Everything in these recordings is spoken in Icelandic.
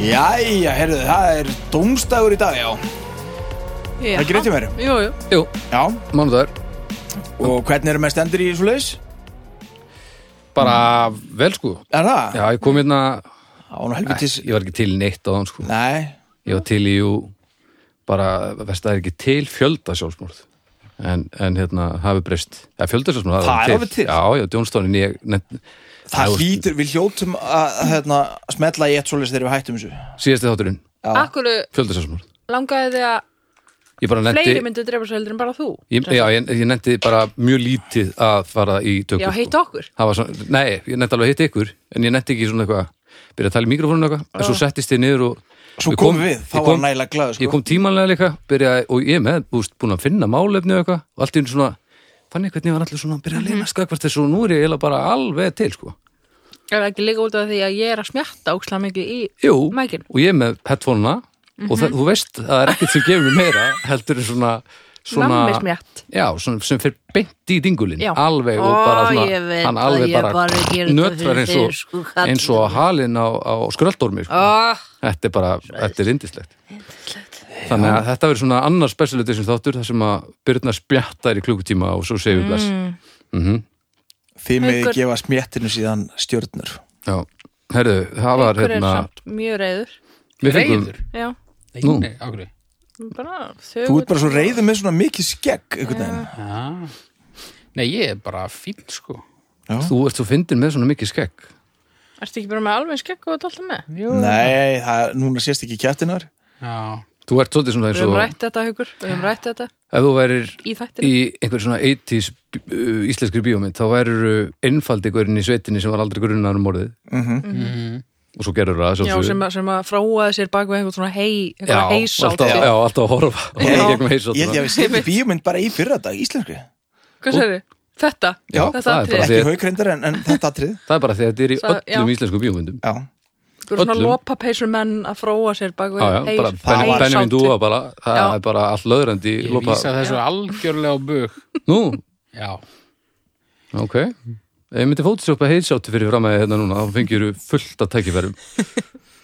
Jæja, herðu, það er dómstagur í dag, já. Já. Það er ekki rétt hjá mér. Jú, jú, Jú, Já, mánudagur og hvernig eru með stendur í svo leiðis? Bara Mm. vel sko Er það? Já, ég kom hérna Já, nú helvitis. Ég var ekki til í neitt á þann sko Nei, Ég var til í jú Bara, veist það er ekki til fjölda sjálfsmorð En, en hérna, hafi breyst Já, fjölda sjálfsmorð, Það er alveg alveg til. Já, já, Djónstónin, ég nefn, það Já, hlýtur, við hljótum að hérna, smetla í eitt svo leiðis þegar við hættum þessu. Síðasti þátturinn, akkur fjölda sjálfsmorð langaði þig að Ég bara nefndi fleiri myndu drefa svo heldur en bara þú ég, Já, ég, ég nefndi bara mjög lítið að fara í tökur Já, heitt okkur Það var svona, nei, ég nefndi alveg að hitta ykkur en ég nefndi ekki svona eitthvað, byrja að tala í mikrofónu eitthvað en svo settist ég niður og Ah. Svo ég komum við, þá ég var nægilega glaður, sko. Ég kom tímanlega líka, byrjaði, og ég er með, búst, búin að finna málefni og eitthvað og allt í einu svona, fann ég hvernig ég var allir svona að byrja að leina skakvart þessu og nú er ég eiginlega bara alveg til, sko. Er það ekki líka út af því að ég er að smjatta ókslega mikið í Jú, mækin og ég er með headphone-na og Mhm. það, þú veist að það er ekkert sem gefur mér meira heldur en svona, svona Nammismjatt. Já, svona, sem fyrir beint í dingulinn Já. alveg og Ó, bara ég svona, veit hann að alveg ég bara bara geri þetta nötrar fyrir eins og, þig, sko, kallinn. eins og halinn á, á skröldormi sko. oh, Þetta er bara, þetta er indislegt Þannig að þetta verður svona annar special edition þáttur þar sem að Byrna spjattar í klukkutíma og svo segir við bless Mm. Þið með Haukur. gefa smettinu síðan stjörnur. Já, herðu, það var Hver er hérna samt mjög reyður Við fengum, Reiður? Já, Nei, Nú. nei, af hverju? bara Þú ert þau bara svo reyðið með svona mikið skegg, einhvern veginn. Já. Ah. Nei, ég er bara fín, sko. þú ert svo fyndin með svona mikið skegg Ertu ekki bara með alveg skekk og þetta alltaf með? Jú. Nei, það, núna sést ekki kjæftinar. Já. Þú ert svolítið svona Við eins höfum og rætt þetta, Haukur Við höfum rætt þetta ef þú værir í þættinu í einhver svona 80s bí- uh, íslenskri bíómynd, þá væru einfaldigurinn í sveitinni sem var aldrei grunnar um orðið Mm. og svo gerur Já, það sjálfsögðu. sem, að- sem að fróaði sér bak við einhvern svona hei, já, einhvern heisátt alltaf, já, alltaf að horfa Já. horfa í gegnum heisátt Ég held ég að við setjum bíómynd bara í fyrra dag, íslenskri. Hvað sér þið? Þetta? Já, þetta það er bara atrið því Ekki að- haugreindar en, en þetta atrið. það er bara því að þetta er í Það- öllum já. íslensku bíómyndum Já. Þú eru svona öllum. lopapeysur menn að fróa sér bak Já, já, við bara það Ben- var- Benjamin Dúa bara, það Já. er bara allt löðrandi Ég lopa. vísa þessu algjörlega á bug. Nú, Já. ok Ég myndi fótisjópa heilsáttu fyrir fram að hérna núna þá fengir þú fullt að tækifærum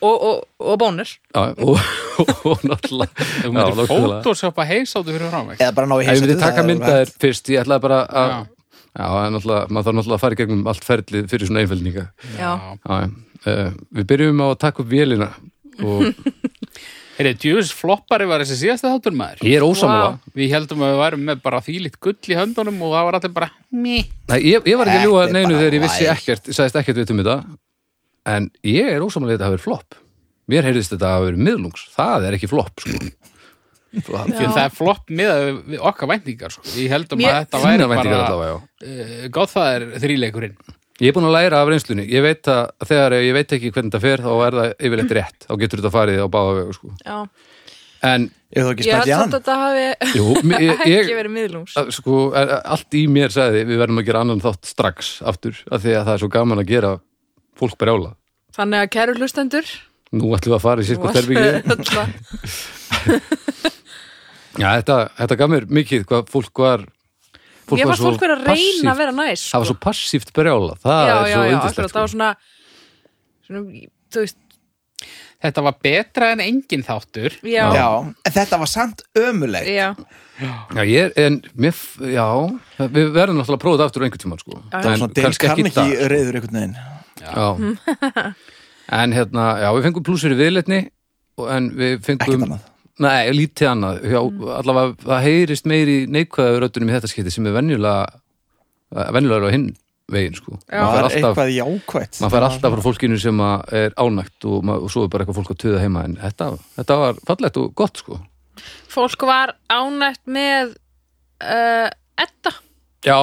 og, og, og bónir Já, og, og, og náttúrulega Þú Já, myndir nákvæmlega. fótósjópa heilsáttu fyrir frá mig. Eða bara ná í Ef Ég heimsætið. myndi taka myndaðir fyrst, ég ætlaði bara að Já. Já, en náttúrulega, maður þarf náttúrulega að fara í gegnum allt ferlið fyrir svona einfældninga Já, Já, uh, Við byrjum á að taka upp vélina og Heyrðu, djúvis floppari var þessi síðasta þáttur maður. ég er ósamála Vá. Við heldum að við værum með bara þýlitt gull í höndunum og það var allir bara mí. Nei, ég, ég var ekki að ljúga Þetta er neinu bara þegar ég vissi væl. ekkert, ég sagðist ekkert við um þetta en ég er ósamála þetta hafi verið flopp Mér heyrðist þetta hafi verið miðlungs það er ekki flopp sko. Því að það er flopp miðað við- við okkar væntingar, sko. Við heldum að Mér- þetta væri Þínar væntingar bara allavega, já uh, gátt það er þrýleikurinn. Ég er búin að læra af reynslunni. Ég veit að þegar ég veit ekki hvernig það fer, þá er það yfirleitt rétt. Þá getur þetta farið á báða vegu, sko. já En, Ég þú ekki Ég held spætt í hann. samt að þetta hafi jú, m- ég, ég, ekki verið miðlungs að, sko, að- að allt í mér sagði, við verðum að gera annan þátt strax aftur, af því að það er svo gaman að gera fólk brjála. Þannig að kæru hlustendur Nú ætlum við að fara nú í sirkvart ætlum herbyggið. við öll að- Já, þetta, þetta gaf mér mikið hvað fólk var, fólk Ég var fannst svo fólk verið að reyna að vera næs Það var sko. svo passíft brjála. Það Já, er já, svo já, akkurat, yndislegt, það var sko. svona svona, Þú veist, Þetta var betra en engin þáttur. já Já, en þetta var samt ömulegt. Já, Já, ég er, en, mér, f- já, við verðum náttúrulega að prófa þetta aftur einhvern tímann, sko. Það var En svona Dale kannski ekki í dag. Carnegie reyður einhvern veginn. Já. en hérna, já, við fengum plussur í viðletni og- en við Ekkert fengum annað. Nei, lítið annað já, Mm. allavega, það heyrist meiri neikvæða röddunum í þetta skipti sem er venjulega eh, venjulega er á hinn veginn sko. Já. maður Það fær var alltaf, eitthvað jákvætt. mað alltaf frá fólkinu sem að er ánægt og, ma- og svo er bara eitthvað fólk að töða heima en þetta, þetta var fallegt og gott sko. fólk var ánætt með uh, Edda já,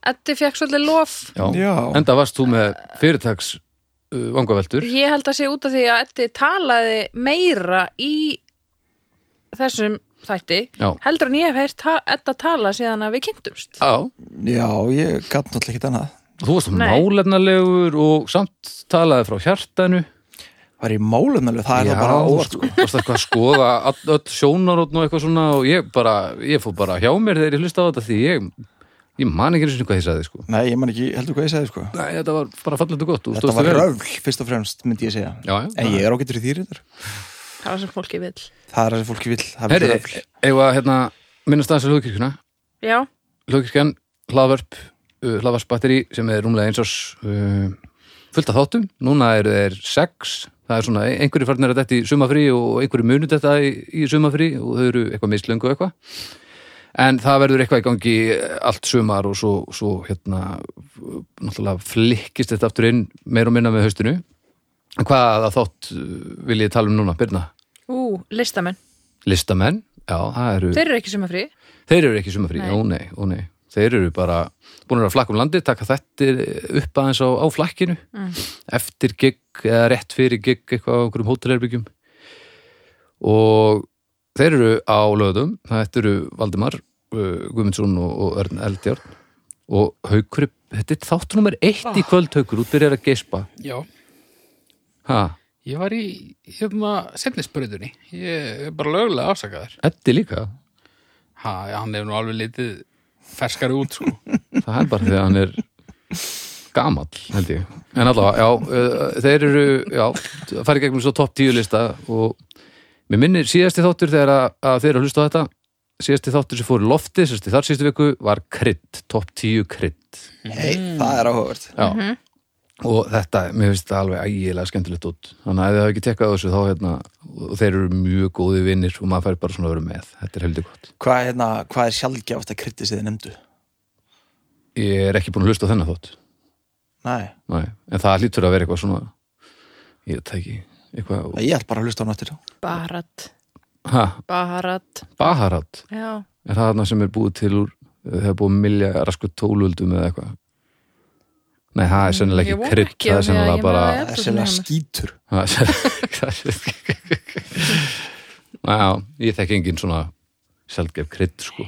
Eddi fekk svolítið lof já. Já. enda varst þú með fyrirtags uh, vangaveltur Ég held að sé út af því að Eddi talaði meira í þessum þætti Já. heldur en ég hef heyrt ta- Edda tala síðan að við kynntumst já, Já, ég gatt náttúrulega ekkert annað. þú varst Nei. málefnarlegur og samt talaði frá hjartanu Var ég málum alveg, það er Já, það bara óvart. sko, varst eitthvað að skoða all- öll sjónarotn og eitthvað svona og ég bara, ég fór bara hjá mér þegar ég hlusta á þetta því ég ég man ekki einu sinni hvað ég sagði sko. Nei, ég man ekki heldur hvað ég segi sko Nei, þetta var bara fallandi gott og Þetta stóðst var þig vel. röfl, fyrst og fremst, myndi ég segja Já, já. En ég er ágættur í þýritur það var sem fólki vill Það er það sem fólki vill, það er Herri, röfl eigum að hérna, minnast aðeins að hlugkirkuna já, hlugkirkjan, hlaðvarp uh, hlaðvarpsbatteri sem er rúmlega eins árs uh, fullt af þáttum núna eru þeir sex það er svona, einhverju farnir að þetta í sumafrí og einhverju munut þetta í, í sumafrí og þau eru eitthvað mislöngu og eitthvað en það verður eitthvað í gangi uh, allt sumar og svo, svo hérna náttúrulega flikkist þetta aftur inn meir og minna með haustinu En hvaða þátt uh, vil ég tala um núna, Birna? ú, listamenn Listamenn, já, það eru þeir eru ekki sumafrí Þeir eru ekki sumafrí, Nei. ó nei, ó nei Þeir eru bara búin að vera flakk um landi taka þetta upp aðeins á, á flakkinu eftir gig eða rétt fyrir gig eitthvað á einhverjum hótelherbyggjum og þeir eru á löðum þetta eru Valdimar uh, Guðmundsson og, og Örn Eldjárn og Haukur, þetta er þáttu nummer eitt í kvöld Haukur, út byrjar að geispa Já, ha, ég var í, hérna, setnisbröðunni Ég er bara lögulega afsakaður Eddi líka Ha, já, hann hefur nú alveg litið ferskari út, sko það er bara því að hann er gamall, held ég en allavega, já, uh, þeir eru já, það færi gegnum svo topp tíu lista og mér minnir síðasti þáttur þegar að, að þeir eru að hlusta á þetta síðasti þáttur sem fór í lofti, sérst í þar síðustu viku var krydd, topp tíu krydd Hei, það er áhugavert já og þetta, mér finnst þetta alveg ægilega skemmtilegt út þannig að ef þið hafa ekki tekkað á þessu þá hérna, og þeir eru mjög góði vinnir og maður fær bara svona að vera með, þetta er heldur gott Hvað, hérna, hvað er sjálfgjáft að krytti sig þið nefndu? ég er ekki búin að hlusta á þennan þótt Nei, Nei, en það lítur að vera eitthvað svona ég veit það ekki eitthvað, ég ætl bara að hlusta á náttir barat, ha, barat Baharat já, er það þarna sem er búið til úr þegar búið milja rasku tólöldum eða eitthvað Nei, það er sennilega Ég ekki vona krydd ekki, það af er því að sennilega ég bara meina það Það er sérlega skítur það er sennilega- það er sennilega- Já, ég þekki engin svona sjálfgef krydd sko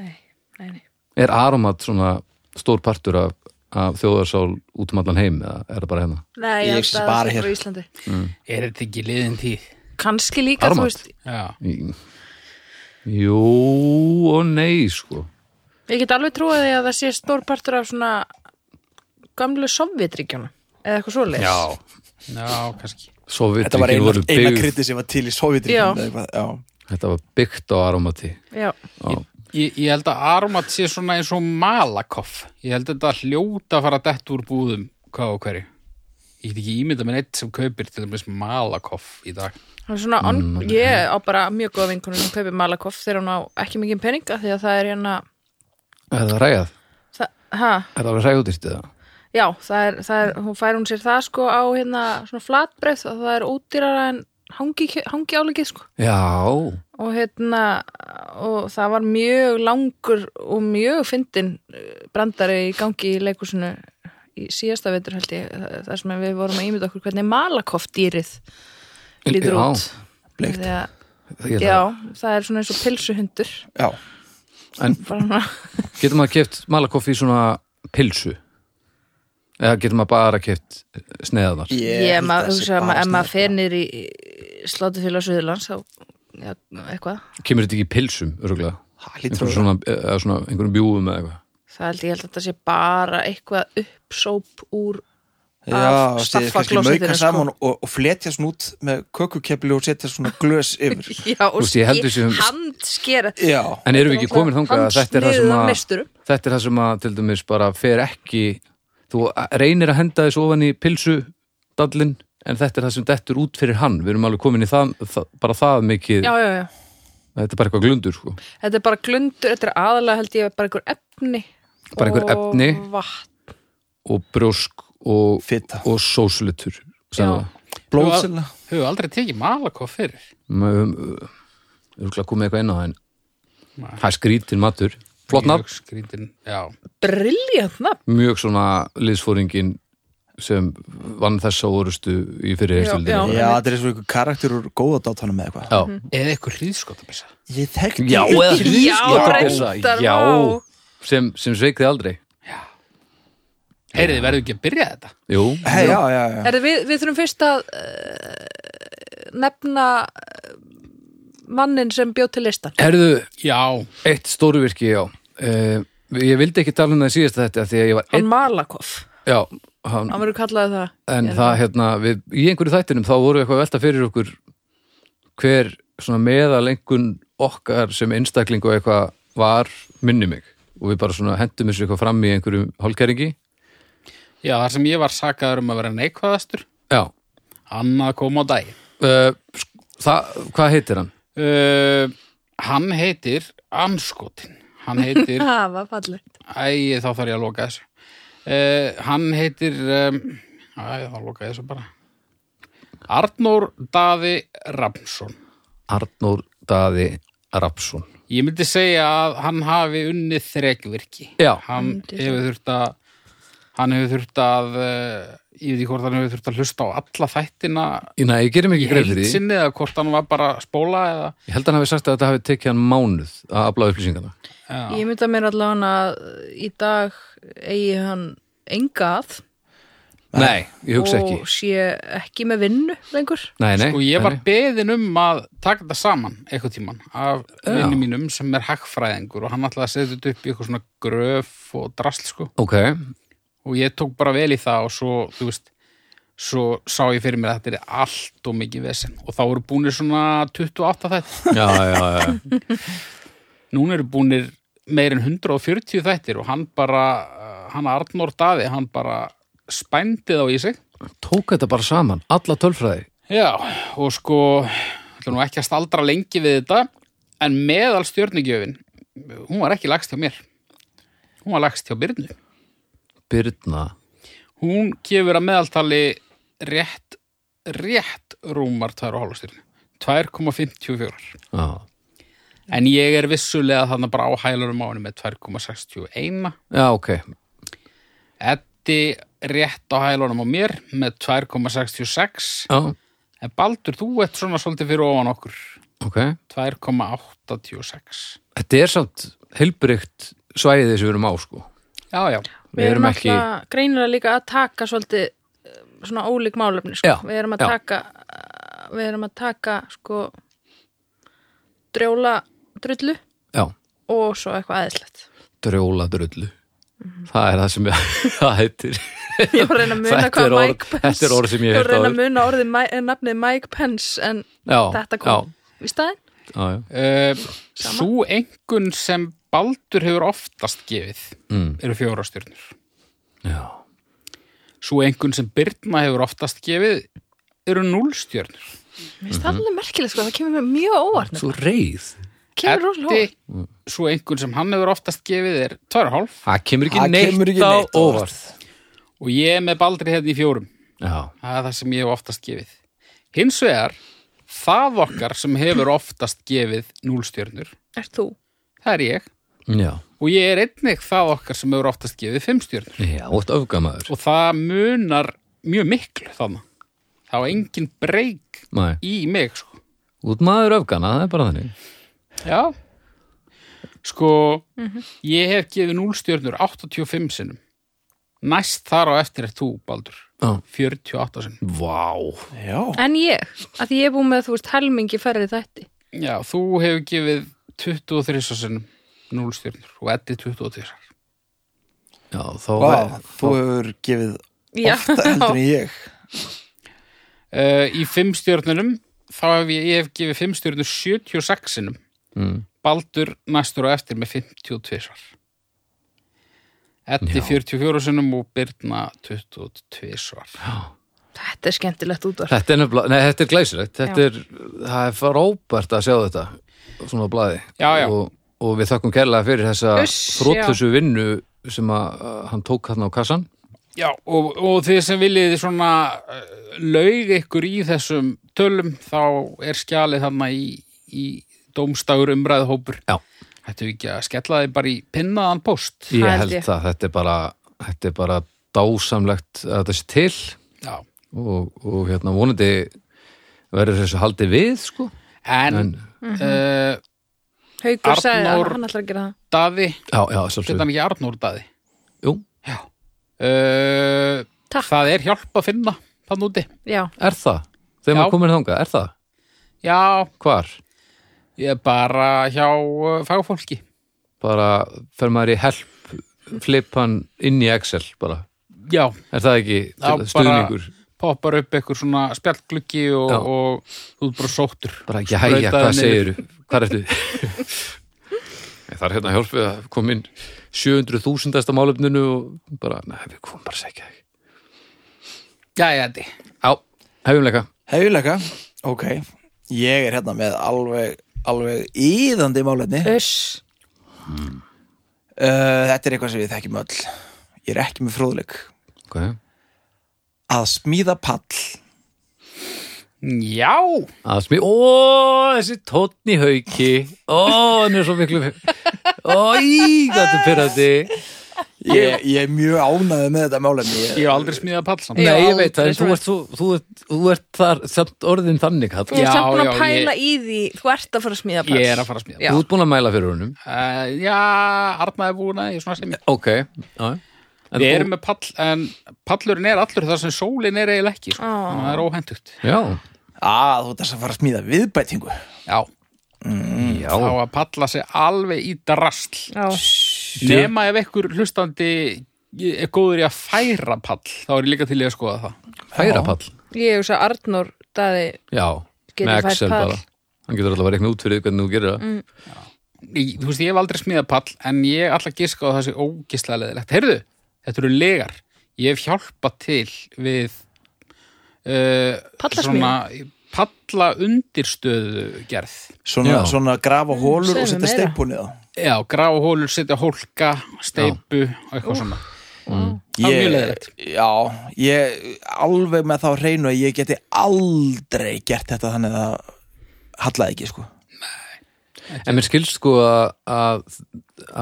nei, nei, nei Er aromat svona stór partur af, af þjóðarsál út um allan heim eða er það bara hérna? Nei, Ég ég hugsa held að bara það sé hér. bara á Íslandi Er þetta ekki liðin tíð? kannski líka, Aromat? þú veist Já, Í- Jú og nei sko ég get alveg trúið því að það sé stór partur af svona gamlu sovjetríkjana eða eitthvað svoleiðis já, kannski Þetta var Sovjetríkin eina, voru eina byggð krytti sem var til í Sovjetríkjum Já. eða eitthvað, Já, Þetta var byggt á aromati Já. Ég, ég held að Armat sé svona eins og Malakoff. Ég held að þetta hljóta að fara dett úr búðum hvað og hverju. Ég get ekki ímynda með neitt sem kaupir til þess Malakoff í dag. Það er svona, on, ég á bara mjög góða vinkunum sem kaupir Malakoff þegar hún á ekki mikið peninga því að það er hérna, Er það rægað? það, ha, Er það rægudýrt eða? já, það er, það er, hún fær hún sér það sko á hérna svona flatbreið og það er ódýrara en hangi, hangi álegið sko Já, og hérna, og það var mjög langur og mjög fyndin eh, brandari í gangi í leikusinu í síðasta veitur held ég, þa- þar sem við vorum að ímynda okkur hvernig Malakoff dýrið lítur Já, út. bleikt. Því að- það er það Já, það er svona eins og pilsuhundur já, bara svona, Getur maður keft malakoff í svona pilsu? Eða getur maður bara keft sneiðanar? ég, ég, held að maður, það sé hugsa, bara maður, ef maður snert. fer nýr í slátufélag Suðurlands þá, já, eitthvað Kemur þetta ekki í pilsum, örgulega? Það lítur Einhverjum að- svona, eða svona einhverjum bjúum eða eitthvað? það held ég held að þetta sé bara eitthvað uppsóp úr Já, af sér kannski staffaklósettinu, mauka sko. saman og, og fletja svona út með kökukepli og setja svona glös yfir já, og veist, ég held við séum- handskera Já, En erum við ekki komin þangað að þetta er það sem að meisturum þetta er það sem að til dæmis bara fer ekki þú reynir að henda þessu ofan í pilsu dallin en þetta er það sem dettur út fyrir hann við erum alveg komin í það, það bara það mikið já, já, já, þetta er bara eitthvað glundur sko þetta er bara glundur þetta er aðalega held ég bara einhver efni Bara einhver og efni. vatn og brjósk og, Fita. og sósulutur Já. blóðsela Hefur aldrei tekið Malakoff fyrir. örgulega komið eitthvað inn á það en Nei. það er skrítin matur flott Mjög nafn, Skrítin, já. briljant nafn mjög svona liðsfóringin sem vann þessa orustu í fyrir Já, Já, þetta er svona einhver karakter úr góðadátanum eða eitthvað já. Eða eitthvað hríðskotabissa. Ég þekkti Já, eða hríðskotabissa. reyndar, Já, vá. sem, sem sveikði aldrei Heyrið, þið verður ekki að byrja þetta. Jú, Hei, já, já, já, Er, við, við þurfum fyrst að uh, nefna uh, mannin sem bjóð til listan herðu Já, eitt stóruvirki, já uh, Ég vildi ekki tala um það í síðasta þetta því að ég var Hann einn Malakoff, Já, hann, hann verður kallaði það en er það hérna við, í einhverju þættinum þá voru við eitthvað að velta fyrir okkur hver svona meðalengun okkar sem einstaklingu eitthvað var minni mig og við bara svona hendum þessu eitthvað fram í einhverju hálkæringi Já, þar sem ég var sakaður um að vera neikvæðastur Já, annað kom á dag uh, sk- það, hvað heitir hann? uh, Hann heitir Anskotin Hann heitir, Það var fallegt æ, þá þarf ég að loka þessu uh, Hann heitir um, Æ, þá loka ég þessu bara Arnór Daði Ramsson Arnór Daði Rapsson Ég myndi segja að hann hafi unnið þrekvirki. Já. Hann Myndi segja. hefur þurft að, hann hefur þurft að, eh, ég veit ekki hvort hann hefur þurft að hlusta á alla þættina Næ, ég gerum í ekki greið fyrir því heilsinni eða hvort hann var bara að spóla eða, Ég held að hann hafi sagt að þetta hafi tekið hann mánuð að afla upplýsingana já, Ég mynda mér allavega að eh, í dag eigi hann engað Nei, ég hugsa ekki og sé ekki með vinnu lengur Nei, nei, Sko ég var nei. beðin um að taka þetta saman eitthvað tíman af Já. vinnu mínum sem er hagfræðingur og hann ætlaði að setja þetta upp í eitthvað svona gröf og drasl sko Ok, og ég tók bara vel í það og svo, þú veist, svo sá ég fyrir mér að þetta er allt og mikið vesen og þá eru búinir svona 28 þætt já, já, já, já. núna eru búinir meir en 140 þættir og hann bara, uh, hann Arnór Daði, hann bara spændi þá í sig. Tók þetta bara saman, alla tölfræði Já, og sko, ætlum nú ekki að staldra lengi við þetta, en meðal stjörnigjöfin, hún var ekki lagst hjá mér. Hún var lagst hjá Byrnu. Birna Hún gefur að meðaltali rétt, rétt rúmar tvær og hálfstjörni. 2,54. Já, En ég er vissulega þannig bara á hælurum á henni með 2,61. já ok Eddi rétt á hælunum á mér með 2,66 Já, en Baldur, þú ert svona svolítið fyrir ofan okkur ok 2,86 Þetta er samt heilbrygt svæðið sem við erum á sko Já, já, Við erum ekki- alltaf greinilega líka að taka svolítið eh, svona ólík málefni sko. Já, við erum að já. taka eh, við erum að taka sko drjóla drullu Já, og svo eitthvað aðeinslegt drjóla drullu Það er það sem ég, það heitir ég var að reyna að muna Þetta er hvað orð- Mike Pence þetta er orð sem ég hef var að heyrt reyna áður. að muna orðið Mi- eh, nafnið Mike Pence en Já, þetta já, kom í staðinn já, já. uh, Sú engun sem Baldur hefur oftast gefið Mm, eru fjóra stjörnur já. Sú engun sem Birna hefur oftast gefið eru núlstjörnur mér finnst Mhm. það alveg merkilegt sko, það kemur mér mjög óvart Svo reið kemur rosalega óvart svo engun sem hann hefur oftast gefið er 2,5 Það kemur ekki Það neitt kemur ekki á neitt á óvart og ég er með Baldri hérna í fjórum Já, Það er það sem ég hef oftast gefið. Hins vegar, það okkar sem hefur oftast gefið núlstjörnur, ert þú? það er ég. já, Og ég er einnig það okkar sem hefur oftast gefið fimmstjörnur. já, ótt öfgamaður Og það munar mjög miklu þannig. Það var engin breyk Nei, í mig, sko. út maður öfgana, það er bara þannig Já. Sko, ég hef gefið núlstjörnur 85 sinnum. Næst þar á eftir er þú, Baldur. Já. 48 sinnum. Vá Já, en ég, að því ég er búin með þú veist helmingi færri þætti Já, þú hefur gefið 23 sinnum núlstjörnur og Eddi 22. Já, þá Vá, þú hefur gefið Já. ofta heldur en ég Uh, í fimm stjörnunum þá hef ég, ég hef gefið fimm stjörnur 76 sinnum mm, Baldur næstur og eftir með 52 svar Eddi Já. 44 sinnum og Birna 22 svar þetta er skemmtilegt útvarp Þetta er nefnilega, nei, þetta er glæsilegt Þetta Já. er, það er frábært að sjá þetta svona á blaði Já, já. Og, og við þakkum kærlega fyrir þessa Uss, þrótlusu vinnu sem að uh, hann tók hann á kassan Já, og, og þið sem viljið svona uh, laug ykkur í þessum tölum þá er skjalið þarna í, í dómstagur umræðhópur Já. Ættu ekki að skella þið bara í pinnaðan post Ég held held ég. það, þetta er bara þetta er bara dásamlegt að þetta sé til Já. og, og hérna vonandi verður þessu haldið við sko En, En- uh, Haukur sagði að Arnór- hann ætlar að gera það Daði, Já, já, þetta svolítið hann ekki Arnór Daði Jú, Uh, Takk. það er hjálp að finna þann úti. Já, er það? Þegar Já. maður komin þangað, er það? Já, Hvar? ég er bara hjá uh, eh, fagfólki. bara fer maður í help flipan inn í Excel bara já, er það ekki Já, bara- stuðningur bara, poppar upp eitthvað svona spjallgluggi og, Já. og þú er bara sóttur jæja, Sprautaði hvað niður. segir hvað ertu það er hérna hjálpið að koma inn 700.000. málefninu og bara, neða, við komum bara að segja þig já, já, þetta já, hefumleika Hefjuleika, ok Ég er hérna með alveg, alveg íðandi málefni uh, Öss, Eh, Þetta er eitthvað sem við þekkjum öll Ég er ekki með fróðleik okay. Að smíða pall já, að smí, ó, þessi tónn í hauki ó, hann er svo miklu ó, í, hvað þetta er pyrrandi Ég, ég er mjög ánæðið með þetta málefni ég ég, hef aldrei smíðað pall samt Ég Nei, ég aldrei veit það, en þú svona. ert, þú, þú ert, þú ert þar, samt orðin þannig Hall. þú ert Já, samt búin að já, pæla í því þú ert að fara að smíða pass ég er að fara að smíða Já. Þú ert búin að mæla fyrir honum uh, já, Arna er búin að ég er svona sem ég Ok, já En við þú- erum með pall, en pallurinn er allur þar sem sólin er eiginlega ekki sko. Ó. þannig að það er óhendugt Já, Að Ah, þú þess að fara að smíða viðbætingu já þá að palla sig alveg í drasl Já, nema ef einhver hlustandi er góður í að færa pall þá er ég líka til í að skoða það Færa pall ég hugsa að Arnór daði Já, Getur með fært Excel pall. bara Hann getur alltaf að reikna út fyrir því hvernig þú gerir það ég, þú veist, ég hef aldrei smíðað pall en ég ætla að giska á þessi ógislega leðilegt heyrðu, þetta eru legar ég hef hjálpað til við uh, Pallasmíða? palla undirstöðu gerð Svona, Já. svona grafa hólur segðu og setja mér meira. steipunni þá já, gráhólur, setja hólka steipu og eitthvað svona Það er mjög ég, leiðilegt. Já, ég alveg með þá hreinu að ég geti aldrei gert þetta þannig að það hallaði ekki sko En mér skilst sko að, að,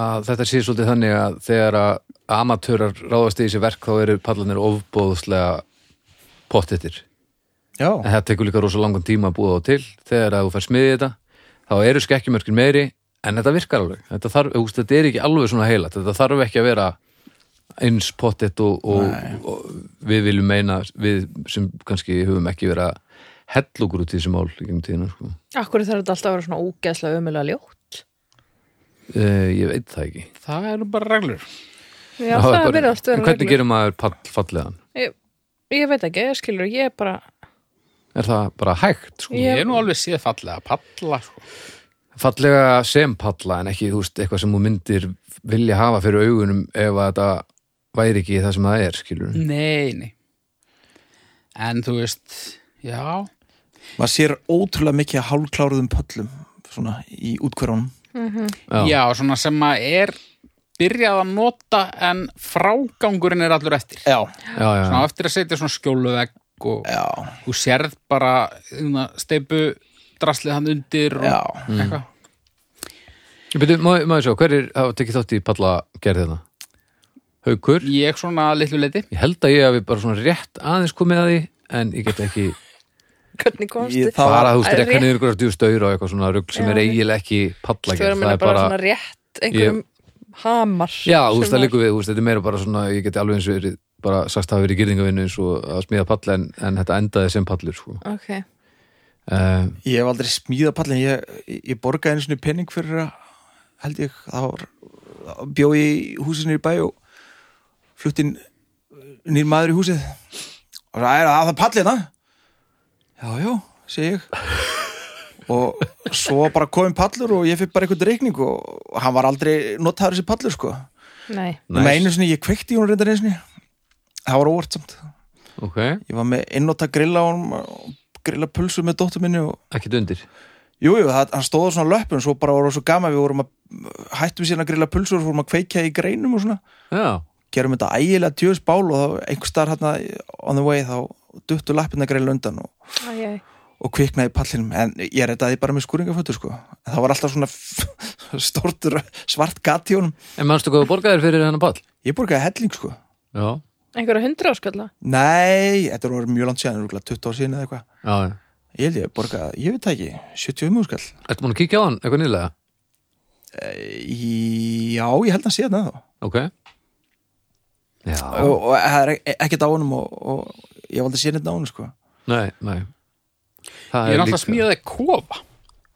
að þetta sé svolítið þannig að þegar að amatörar ráðast í þessi verk þá eru pallanir ofbóðslega pottettir En Já, það tekur líka rosa langan tíma að búa þá til þegar að þú fær smiðið þetta þá eru skekkjumörkin meiri en þetta virkar alveg þetta, þarf, úst, þetta er ekki alveg svona heilat þetta þarf ekki að vera eins pottet og, og, og við viljum meina við sem kannski höfum ekki vera hellugur út í þessi mál í gegnum tíðina sko. akkur þarf þetta alltaf að vera svona ógeðslega ömulega ljótt e, ég veit það ekki það eru bara reglur Já, það er er verið allt að en vera hvernig gerum maður pall, fallegan? ég, ég veit ekki, ég skilur, ég er bara Er það bara hægt? Sko? ég Ég- er nú alveg séð fallega palla sko. fallega sem palla en ekki þú veist, eitthvað sem þú myndir vilja hafa fyrir augunum ef að þetta væri ekki það sem það er skilur Mm. nei, nei en þú veist já, maður sér ótrúlega mikið að hálkláruðum pöllum svona í útkvörunum Já. Já, svona sem að er byrjað að nota en frágangurinn er allur eftir. Já, já, já, Svona á eftir að setja svona skjóluvegg og já, þú sérð bara hérna, steipu draslið hann undir og já eitthvað. Mm. já. Byrju, má, má ég sjá, hver er, hafa tekið þátt í palla gerðina? Haukur? Ég svona að litlu leiti. Ég held að ég hafi bara svona rétt aðeins komið að því en ég get ekki hvernig komst Ég- þið Það var- bara, þú veist, Rétt. rekka niður ykkur eftir staur og eitthvað svona rugg sem Já. er eiginlega ekki palla Þú verður að það minna er bara bara, svona rétt einhverjum hamar já, þú sem veist, það að- líku við, þú veist, þetta er meira bara svona ég geti alveg eins verið, bara sagst hafa verið gyrðingavinnu eins og að smíða palla en, en þetta endaði sem pallur, sko Ok, uh, Ég hef aldrei smíða pallin ég, ég borgaði einu svona penning fyrir að held ég, þá var bjó í húsinu í bæ og fluttin nýr maður í húsið og það er að það pallina Já, já, segi ég og svo bara komið pallur og ég fyrir bara eitthvað reikning og og hann var aldrei notaður þessi pallur sko nei Nice. Með einu sinni, ég kveikti í hún reyndar einu sinni Það var óvart samt Ok, Ég var með innóta grilla á hún og grilla pulsu með dóttur minni og ekkert undir Jú, jú, það, hann stóð á svona löpun svo bara voru svo gaman, við vorum að uh, hættum síðan að grilla pulsur og fórum að kveikja í greinum og svona, Já, gerum þetta ægilega djöðs bál og þá einhver starf hérna on the way þá duttu lappin að grilla undan og, Æ, æ. og kviknaði í pallinum en ég rettaði bara með skúringafötur sko en það var alltaf svona f- stórt svart gat í honum en manstu hvað þú borgaðir fyrir hennar pall? ég borgaði helling sko Já, Einhverja hundra áskalla Nei, þetta voru mjög langt síðan, örugglega 20 ár síðan eða eitthvað já, já Ég held ég borgaði, ég veit það ekki, 70 múskall Ertu múin að kíkja á hann eitthvað nýlega? Eh, Já, ég held að sé þetta þá Ok Já, og, og það er ek- ekkert á honum og, og ég valdi sér neitt á honum sko nei, nei Ég er náttúrulega smíðaði kofa.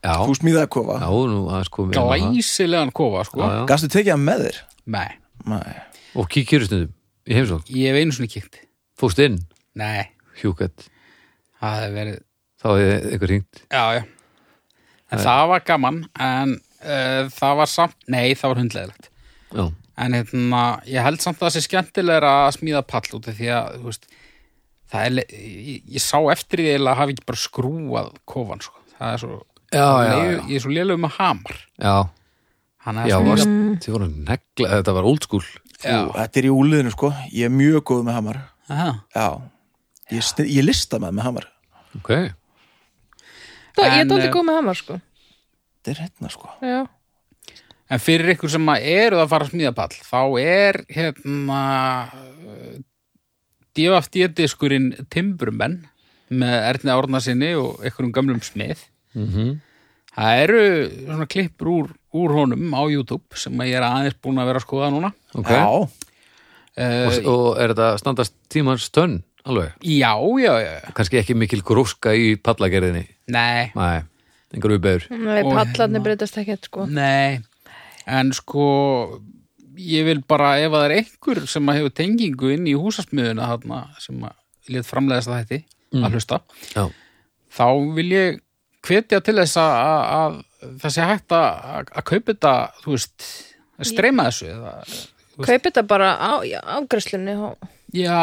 já, þú smíðaði kofa já, nú aðeins komið inn á það. Glæsilegan kofa, sko. Já, já. Gastu tekið hann með þér? Nei, Nei. og kíkjur stundum í heimsókn, ég hef einu svona kíkt. fókst inn Nei, hjúkett, það hefði verið, þá hefði einhver hringt já, já. En það var gaman, en uh, það var samt, nei, það var hundlegilegt. já, En hérna, ég held samt að það sé skemmtilega að smíða pall út af því að, þú veist, það er, le- ég, ég sá eftir því eiginlega að hafa ekki bara skrúað kofan, sko. Það er svo, já, já, leiður- já, ég er svo lélega með hamar. já, Hann já, er varst, þið voru að negla, þetta var old school Já. Ú, Þetta er í úliðinu sko, ég er mjög góð með hamar Aha. Já, ég, sni- ég lista með með hamar ok, Það, ég er En, dálítið eh, góð með hamar sko Þetta er hérna sko Já, En fyrir ykkur sem að eru að fara að smíða pall, þá er hérna uh, DFD-diskurinn Timbrumenn með Erni Árnarsinni og einhverjum gamlum smið. mhm Það eru svona klippur úr, úr honum á YouTube sem að ég er aðeins búin að vera að skoða núna. ok, Já, Uh, og, og er þetta standast tímans tönn alveg, já, já, já, kannski ekki mikil gróska í pallagerðinni, nei, nei einhver ubegur, nei, Og pallarnir breytast ekkert sko nei, en sko ég vil bara ef að það er einhver sem að hefur tengingu inn í húsasmiðuna þarna sem að lét framleiðast að þetta Mm. að hlusta. já, þá vil ég hvetja til þess að, að, að það sé hægt að, að, að kaupa þetta, þú veist, að streyma þessu. eða- Kaupi þetta bara á já, afgreiðslunni á, Já,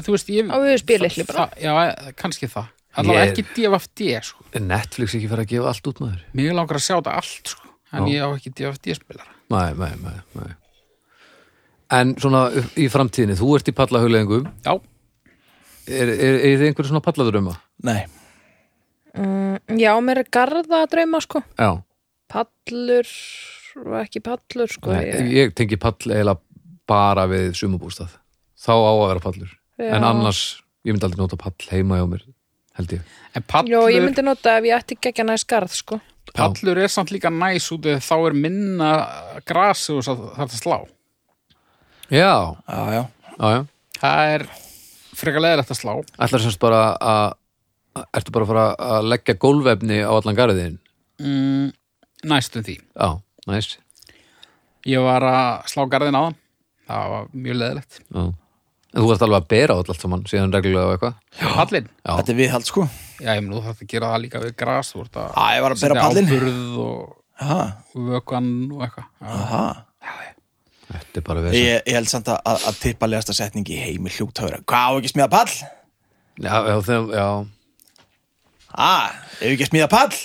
þú veist, ég... á USB-litli bara Það- Já, kannski það. Allavega Ég- ekki DFD, sko. Netflix ekki fara að gefa allt út maður Mér langar að sjá þetta allt, sko. Já. En ég á ekki DFD-spilara. Nei, nei, nei, nei. En svona upp- í framtíðinni, þú ert í pallahugleðingum, Já, er, er, er þið einhverjum svona palladröma? nei, Já, mér er garða að drauma sko Já, Pallur og ekki pallur sko nei, ég, ég tengi pall eiginlega bara við sumabústað. Þá á að vera pallur. Já. En annars, ég myndi aldrei nota pall heima hjá mér, held ég. en pallur, Jó, ég myndi nota ef ég ætti ekki að næst garð sko pallur er samt líka næs út eða þá er minna grasi og það þarf að slá. Já, já, já já, já. Það er frekar leðilegt að slá. Ætlar semst bara að, að- ertu bara að fara að leggja gólfefni á allan garðin? Mm, næstum því. Já, næs. Ég var að slá garðin á það. Það var mjög leðilegt. Já. En þú ert alveg að bera á allt saman, síðan reglulega og eitthvað? Pallin? Já. Þetta er viðhald sko Já, ég menn, þú þarf að gera það líka við gras, þú ert að Æ, ég var að bera setja pallinn áburð og Aha, vökan og eitthvað. Já. aha Þetta er bara við Ég, ég held samt að, að- að tippa legasta setning í heimi hljótaður Hvað á ekki að smíða pall? Já, já, þeim, já. Á, Ah, ef ekki að smíða pall?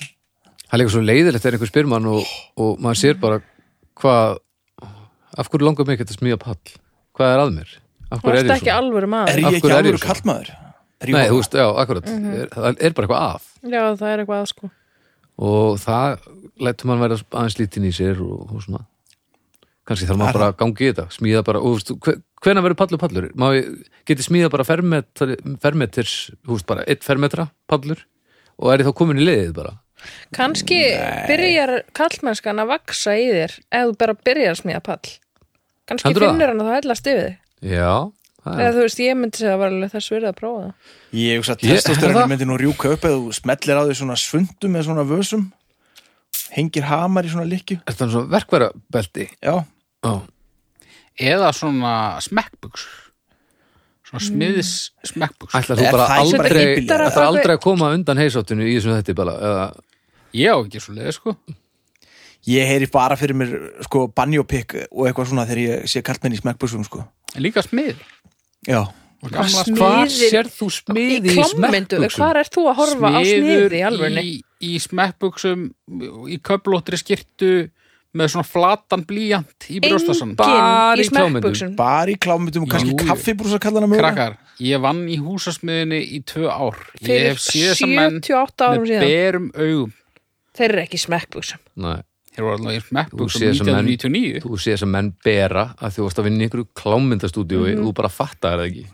Það er líka svo leiðilegt þegar einhver spyr mann og, og maður sér bara hvað af hverju langar mig ekki að smíða pall hvað er að mér? Af Þú hverju ert er ég ekki svona? alvöru Er maður ég Af ekki hverju er ég alveg svona? kallmaður? Er ég Nei, bara- þú veist, já, akkurat Mhm. er, það er bara eitthvað að Já, það er eitthvað að sko og það lætur mann vera aðeins lítinn í sér og, og svona kannski þarf maður bara að gangi í þetta smíða bara, og þú veist, hve- hvenær verður pallur pallur? Maður geti smíða bara fermetr, fermeters, þú veist, bara eitt fermetra pallur og er ég þá komin í leiðið bara Kanski byrjar kallmennskan að vaksa í þér ef þú bara byrjar að smíða pall Kanski Heldurðu það? finnur hann að það hellast yfir þig Já, það Eða er, þú veist, ég myndi segja að það var alveg þess verið að prófa það Ég hugsa að Ég- Er það? testosterunum myndi nú rjúka upp eða þú smellir á því svona svundum eða svona vösum hengir hamar í svona likju er það svona verkværa belti? Já, Já, Eða svona smekkbuks. Svona Mm. smiðis smekkbuks. Ætlar þú Er bara það ekki bara aldrei, híbýli? ætlar Þetta er aldrei að koma undan heisáttinu í þessum þetta bara eða, Ég á ekki svo leið, sko. ég heyri bara fyrir mér sko banjópikk og eitthvað svona þegar ég sé kartmenn í smekkbúsum sko En líka smið. Já, Og gamla smið- Hvar- Hvar Smiðir- sér þú smiði í Í klammyndu, smekkbuxum? hvar ert þú að horfa á smiður sniði í alvörni? í, í smekkbuksum, í köflóttri skirtu með svona flatan blíjant í brjóstasann. Bara Engin í í klámyndum. smekkbuksum bara í klámyndum og kannski Jú, jú. kaffibrúsakallana mögulega Krakkar, ég vann í húsasmiðinni í tvö ár. Ég Fyrir hef séð þessa menn 78 árum með síðan berum augum. Þeir eru ekki í smekkbuksum Nei, Þeir voru allavega í þú smekkbuksum séð sem menn 1999. þú séð sem menn bera að þú varst að vinna í einhverju klámyndastúdíu og þú bara fattar það ekki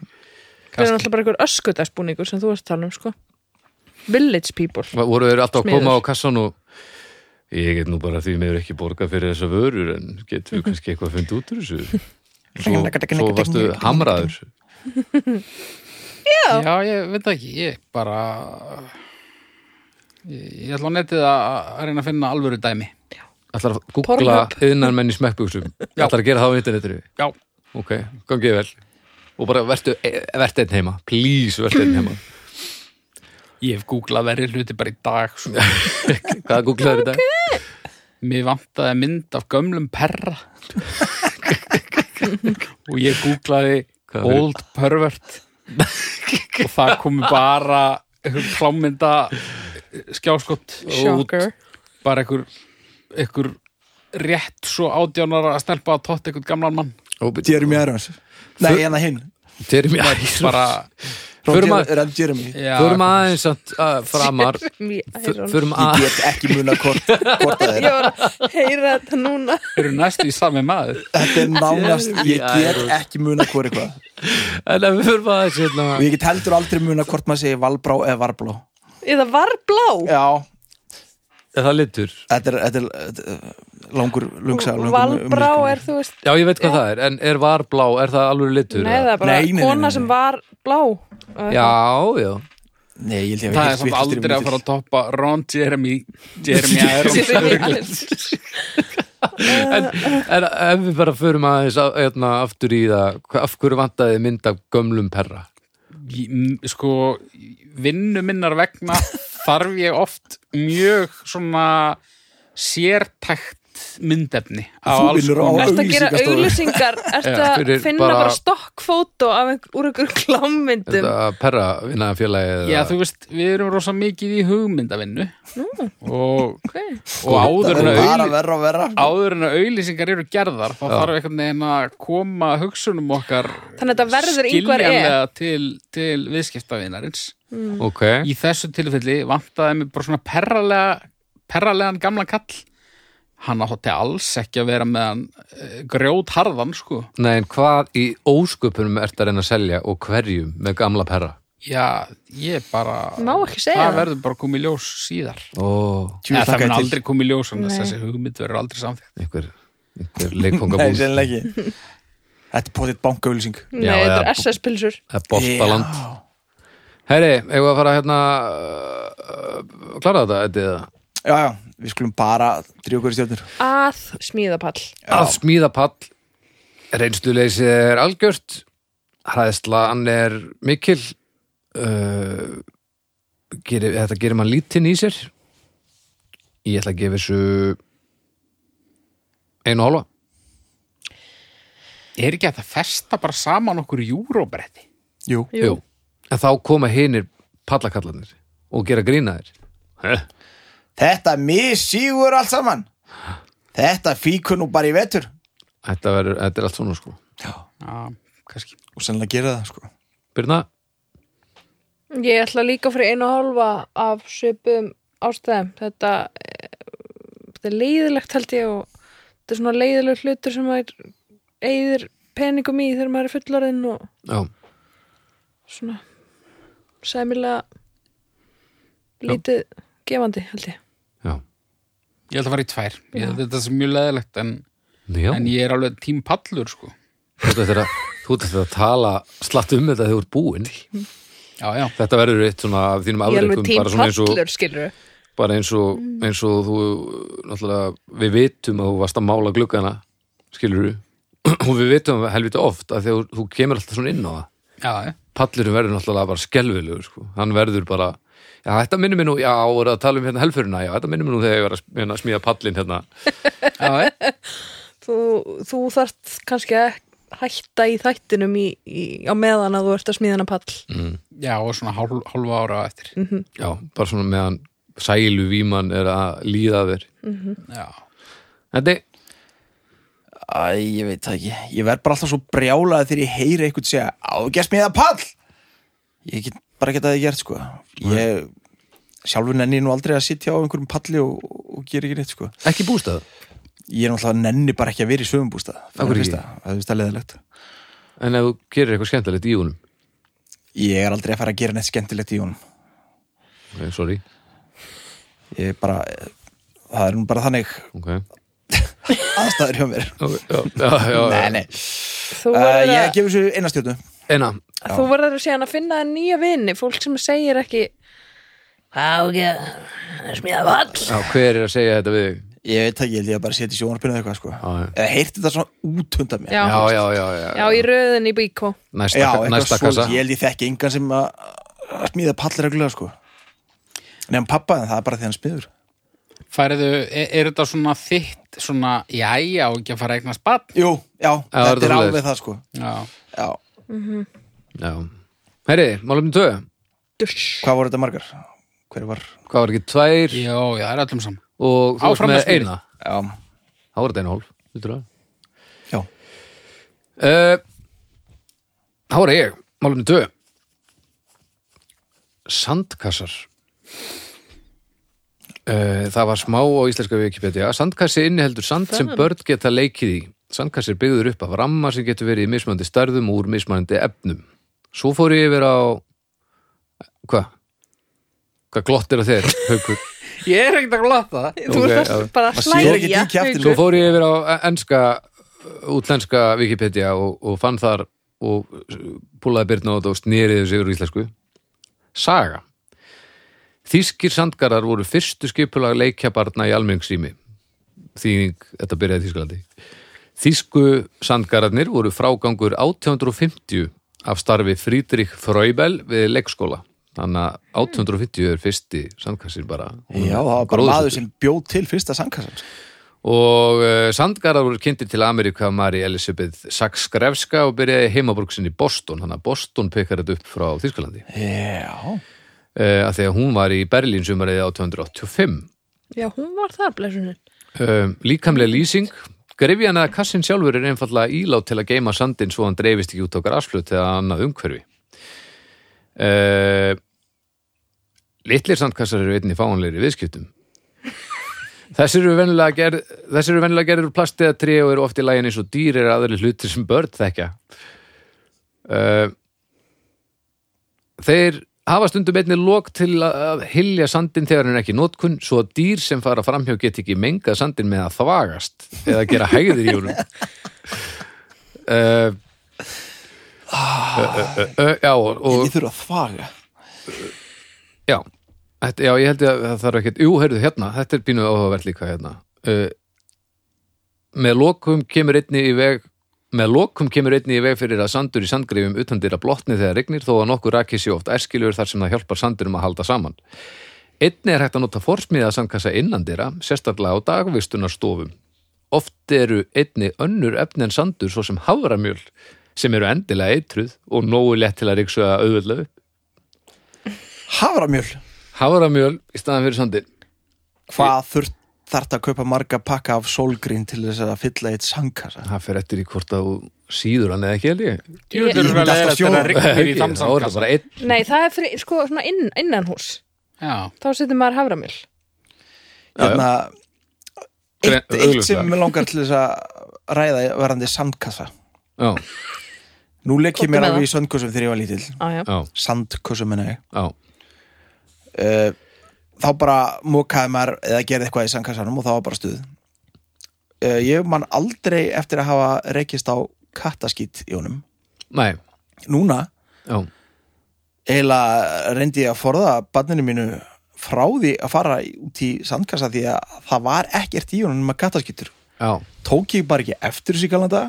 Þeir eru náttúrulega bara einhver öskudagsbúningur sem þú varst að tala um sko Village people voru þeir alltaf að Smiður. koma á kassan og ég get nú bara því meður ekki borgað fyrir þessa vörur en getum við kannski eitthvað að funda út úr þessu svo, svo varstu hamraður Já, ég veit það ekki, ég bara Ég, ég ætla á netið að, að reyna að finna alvöru dæmi. Ætlar að googla Pornhub. yðnarmenn í smekkbuxum Ætlar að gera það á internetinu Já. Ok, gangið vel Og bara vertu, e, vertu einn heima Please, vertu einn heima Ég hef googlað verri hluti bara í dag. Svo. Hvað googlaður okay. í dag? Mér vantaði mynd af gömlum perra. og ég googlaði Hvað fyrir- old pervert. og það komi bara einhver klámynda skjáskott. Shocker. Bara einhver, einhver rétt svo ádjánara að stelpa að tótt einhvern gamlan mann. Jeremy Irons Nei, en það hinn Jeremy Irons Bara, Förum að- Rann Jeremy já, Förum aðeins samt, að framar Jeremy Irons. Förum Ég að get ekki muna hvort, hvort það er Ég var að heyra þetta núna. eru næstu í sami maður. Þetta er nánast, ég get Irons. ekki muna hvort eitthvað En ef við förum aðeins hérna og ég get heldur aldrei muna hvort maður segir Valbrá eða Varblá Eða var blá. Já, Er það litur? þetta er, þetta er, þetta er langur lungsa langur Valbrá umlykkur. er, þú veist, Já, ég veit hvað það er En er var blá, er það alveg litur? Nei, það eða? er bara Nei, nei, nei, nei, kona nei. sem var blá Já, já Nei, ég held ég Það er samt aldrei að fara að toppa Ron Jeremy Jeremy Irons en, en ef við bara förum aðeins á- hérna, aftur í það, hva- af hverju vantaði mynd af gömlum perra? Ég- m- Sko, vinnu minnar vegna þarf ég oft mjög svona sértækt myndefni Þú vinnur á Ertu að gera auglýsingastofu. auglýsingar Ertu að fyrir finna bara- bara stokkfótó af einhver, úr einhver klámyndum Þetta perra vinnaðafélagið Já, þú veist, við erum rosa mikið í hugmyndavinnu og, okay. og áður en Það er Sko, að bara auglý- verra og verra áður en að auðlýsingar eru gerðar þá þarf einhvern veginn að koma hugsunum okkar Þannig að þetta verður yngvar e skiljanlega til, til viðskiptavinarins Ok, í þessu tilfelli vantaði mig bara svona perralega, perralegan gamla kall hann átti alls ekki að vera með hann uh, grjót harðan sko nei en hvað í ósköpunum ert að reyna að selja og hverjum með gamla perra? já, ég bara Má ekki segja það það. verður bara komið ljós síðar Ó, Tjú, Eða, það þakka mun ég til. aldrei komið ljós en Nei. þessi hugmynd verður aldrei samþjóð einhver, einhver Nei, leikfongabúð sennilega ekki Þetta er potið bankauðlýsing Nei, Já, þetta er eða- SS-pilsur Það er boltaland Herri, eigum við að fara hérna uh, uh, klára þetta, þetta eða? Já, já, við skulum bara dríu okkur í stjórnir Að smíðapall að smíða pall reynsluleysi er algjört hræðsla hann er mikil uh, gerir, þetta gerir mann lítinn í sér ég ætla að gefa þessu einu og hálfa er ekki hægt að festa bara saman okkur júróbretti Jú, Jú. en þá koma hinir pallakallarnir og gera grína þér þetta missígur allt saman Þetta fíkur nú bara í vetur þetta, verður, þetta er allt svona sko Já, já, kannski og sennilega gera það sko Birna, Ég ætla líka fyrir einu og hálfa af svipum ástæðum Þetta, eh, þetta er leiðilegt held ég og þetta er svona leiðilegt hlutur sem maður eigðir peningum í þegar maður er fullorðinn og já, svona sæmilega lítið gefandi held ég já, ég ætla að fara í tvær, ég held að þetta sé mjög leðilegt en, já. en ég er alveg tímpallur sko Þú ert eftir að- þú ert eftir að tala slatt um þetta þegar þú ert búinn já, já, Þetta verður eitt svona af þínum ég er alveg Mm. afreikum tím bara, svona eins og, pallur skilur bara eins og eins og þú náttúrulega, við vitum að þú varst að mála gluggana skilur og við vitum helviti oft að þegar þú kemur alltaf svona inn á það já, já. pallurum verður náttúrulega bara skelfilegur sko. hann verður bara já, þetta minnum mér nú, já, voru að tala um hérna helfurina já, þetta minnum mér nú þegar ég var að sm- hérna, smíða pallin hérna já, já. þú, þú þarft kannski að hætta í þættinum í, í, á meðan að þú ert að smíðana pall Mm. já og svona hálf, hálfa ára á eftir Mhm. já, bara svona meðan sælu víman er að líða að þér já þetta, er- Æ, ég veit það ekki Ég verð bara alltaf svo brjálaði þegar ég heyri eitthvað segja Á, ekki að smíða pall Ég get bara geta það gert, sko Ég sjálfur nenni nú aldrei að sitja á einhverjum palli og, og gera ekki neitt, sko ekki bústað Ég er náttúrulega nenni bara ekki að vera í sögumbústað Af hverju ekki? Það er fyrsta leðilegt en ef þú gerir eitthvað skemmtilegt í húnum Ég er aldrei að fara að gera neitt skemmtilegt í honum okay, eh, sorry, Ég er bara Það er nú bara þannig ok aðstæður hjá mér Ok, já, já, já, já. Nei, nei þú uh, verður Ég að, gefur þessu einastjörnu Eina, þú verður að síðan að finna þér nýja vini fólk sem segir ekki Hvað á ekki að smíða vall? Já, hver er að segja þetta við þig? Ég veit ekki, ég held ég að bara setja sjónarpinu eða eitthvað sko Já, já. Eða heyrti þetta svona útundar mér Já. Já, já, já, já, Já, í röðin í bíkó Næsta, Já, eitthvað næsta svoleiðis. kassa Ég held ég þekki engan sem að að smíða pallreglulega sko Nefn pappa, en það er bara því hann smiður Færiðu, er, e, er þetta svona þitt svona, jæja, og ekki að fara að eignast bann? Jú, já, er þetta það er svoleiðis? alveg það sko Já. Já, Já. Herri, málumni tvö Dush hvað voru þetta margar? Hver var? Hvað var ekki tvær Já, já, það er öllum saman. og þú Áfram varst með með smjörið. eina Já, Það var þetta einu hólf, lítur það já, Eh, Þá er ég, málumni tvö Sandkassar uh, Það var smá á íslenska Wikipedia Sandkassi inniheldur sand sem börn geta leikið í Sandkassi er byggður upp af ramma sem getur verið í mismandi stærðum og úr mismandi efnum Svo fór ég yfir á Hvað? Hvað glottir að þér, haukur? Ég er ekkert að glata það. Þú Ok, ert já. að bara að Maður sér ekki slæja dýki aftur. Svo fór ég yfir á e- enska e, útlenska Wikipedia og, og fann þar og púlaði byrna á þetta og snýriði þessu yfir úr íslensku Saga Þýskir sandgarðar voru fyrstu skipulag leikjabarna í almenningsrými þýðing, þetta byrjaði í Þýskalandi Þýsku sandgarðarnir voru frágangur 1850 af starfi Friedrich Fröybel við leikskóla þannig að 1850 er fyrsti sandkassin bara já, það var bara maður sem bjóð til fyrsta sandkassan sko. og uh, sandgarðar voru kynntir til Ameríka Mari Elisabeth Sakskrefska og byrjaði heimabrúksin í Boston þannig að Boston pekar þetta upp frá Þýskalandi uh, Já, að því að hún var í Berlín sumarið 1885 Já, hún var þar, blessunin um, líkamlega lýsing grefjan eða kassin sjálfur er einfallega ílát til að geima sandin svo hann dreifist ekki út á grasflut eða annað umhverfi uh, litlir sandkassar eru einnig fáanlegri í viðskiptum Þessir eru venjulega gerð, þessir eru venjulega gerður úr plasti eða tré og eru oft í lægin eins og dýr er aðri hlutir sem börn þekka. Uh, þeir hafa stundum einnig lok til að að hylja sandin þegar hann er ekki í notkun svo að dýr sem fara framhjá get ekki mengað sandin með að þvagast eða gera hægðir í honum. Uh, Uh, uh, uh, já, og, og ég þurfa að þvaga Já, þetta, já ég held ég að það þarf ekkert Jú, heyrðu, hérna, þetta er pínu áhugavert líka hérna uh, Með lokum kemur einni í veg Með lokum kemur einni í veg fyrir að sandur í sandgrifjum utan dýra blotni þegar regnir þó að nokkur rakið sé oft erskiljur þar sem það hjálpar sandurum að halda saman. Einni er hægt að nota forsmiða sandkassa innan dýra, sérstaklega á dagvistunarstofum. Oft eru einni önnur efni en sandur svo sem haframjöl sem eru endilega eitruð og nógu lett til að ríksu að auðvöldlega upp Haframjöl, haframjöl í staðan fyrir sandin hvað þurft þarft að kaupa marga pakka af sólgrín til þess að fylla eitt sandkassa það fer eftir í hvort að þú síður hann eða ekki held ég Djúður Ég myndi er alveg alltaf eftir að sjóða. Ekki, rignir í þá er það tamsamkassa. bara einn Nei, það er fyrir, sko, svona inn, innan hús Já. Þá setur maður haframil Hérna, Gre- eitt, eitt sem augljóslega. mig langar til þess að ræða varandi sandkassa já, Nú leik ég Komdu mér með alveg í sandkussum þegar ég var lítill Á, já, já, Sandkussum en ég já, Eh, Þá bara mokaði maður eða gerði eitthvað í sandkassanum og það var bara stuð Eh, Ég man aldrei eftir að hafa reykist á kattaskít í honum nei Núna já, eiginlega reyndi ég að forða barninu mínu frá því að fara í- út í sandkassa því að það var ekkert í honum með kattaskýttur já, tók ég bara ekki eftir þessu í galanda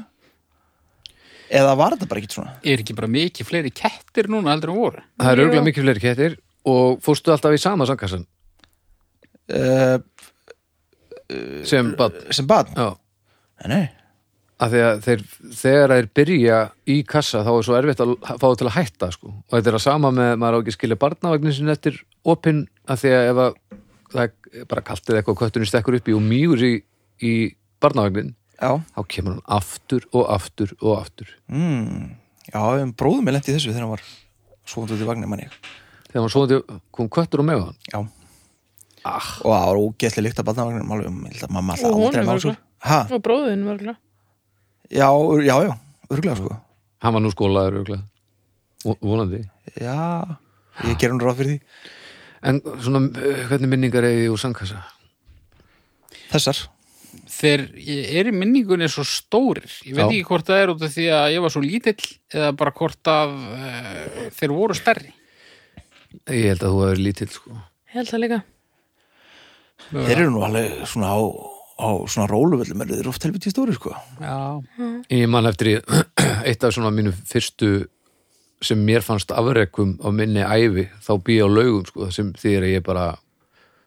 eða var þetta bara ekki svona Er ekki bara mikið fleiri kettir núna heldur en voru? það eru Jú. örgulega mikið fleiri kettir og fórstu alltaf í sama sandkassan uh, sem bara, sem barn já, Eh, nei, nei. af því að þeir þegar þeir byrja í kassa þá er svo erfitt að fá þau til að hætta sko. og þetta er að sama með, maður á ekki að skilja barnavagnin sinni eftir opinn af því að ef að það er bara kalt eða eitthvað köttunni stekkur upp í og mýgur í, í barnavagnin já, þá kemur hann aftur og aftur og aftur mm, já um bróðum er lent í þessu þegar hann var svona út í vagnir manni þegar hann svoðandi kom köttur og með hann já ah. og það var ógeðslega lykt af barnavagninum alveg, um, ég held að mamma Og alltaf aldrei honum ná svo ha, og bróðin mörgulega já, ur- já, já, örglega sko hann var nú skólaður örugglega Vo- vonandi já, ég ger hún ráð fyrir því en svona, eh, hvernig minningar eigi úr sandkassa? þessar Þeir eru minningunni svo stórir. Ég veit Já. ekki hvort það er út af því að ég var svo lítill eða bara hvort að uh, þeir voru stærri. ég held að þú hefur lítill sko Ég held það líka Þeir eru nú alveg svona á, á svona róluvöllum eru þeir oft helviti stóri sko Já, Ég man eftir í eitt af svona mínu fyrstu sem mér fannst afrekum á minni ævi þá býja á laugum sko sem þýðir að ég bara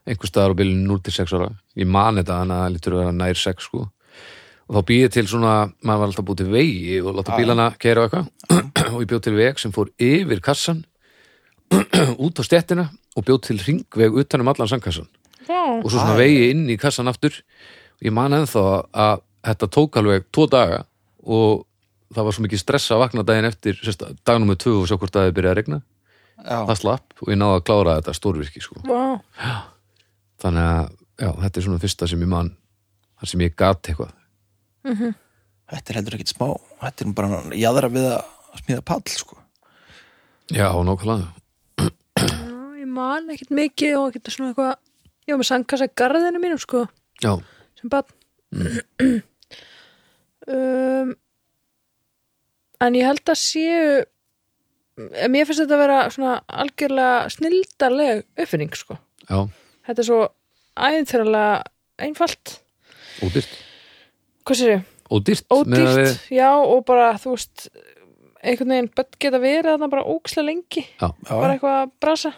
einhver staðar á bylun 0-6 ára ég man þetta þannig að það lítur að vera nær 6 sko og þá býja til svona maður var alltaf búið til vegi og láta bílana kæra og eitthvað og ég bjóð til veg sem fór yfir kassan út á stettina og bjóð til ringveg utan um allan sandkassan Já, og svo svona vegi inn í kassan aftur og ég man ennþá að þetta tók alveg tvo daga og það var svo mikið stress að vakna daginn eftir sérst, dagnúmer tvö og sjá hvort að það byrja að regna Já, það slapp og ég náði að klára þetta stórvirki sko. Vá. þannig að já, þetta er svona fyrsta sem ég man þar sem ég gat eitthvað þetta er heldur ekkit smá Þetta er nú bara jáðra við að smíða pall sko já, nákvæmlega Já, ég man ekkert mikið og ekkert svona eitthvað ég var með sandkassa í garðinu mínum sko já, sem barn Mm. um, en ég held að séu em, mér finnst þetta að vera svona algjörlega snildarleg uppfinning sko já, þetta er svo æðinþjörlega einfalt ódýrt hvað sér ég, ódýrt, með að ódýrt, við, já og bara þú veist einhvern veginn börn geta verið þarna bara ókslega lengi bara Já, eitthvað að brasa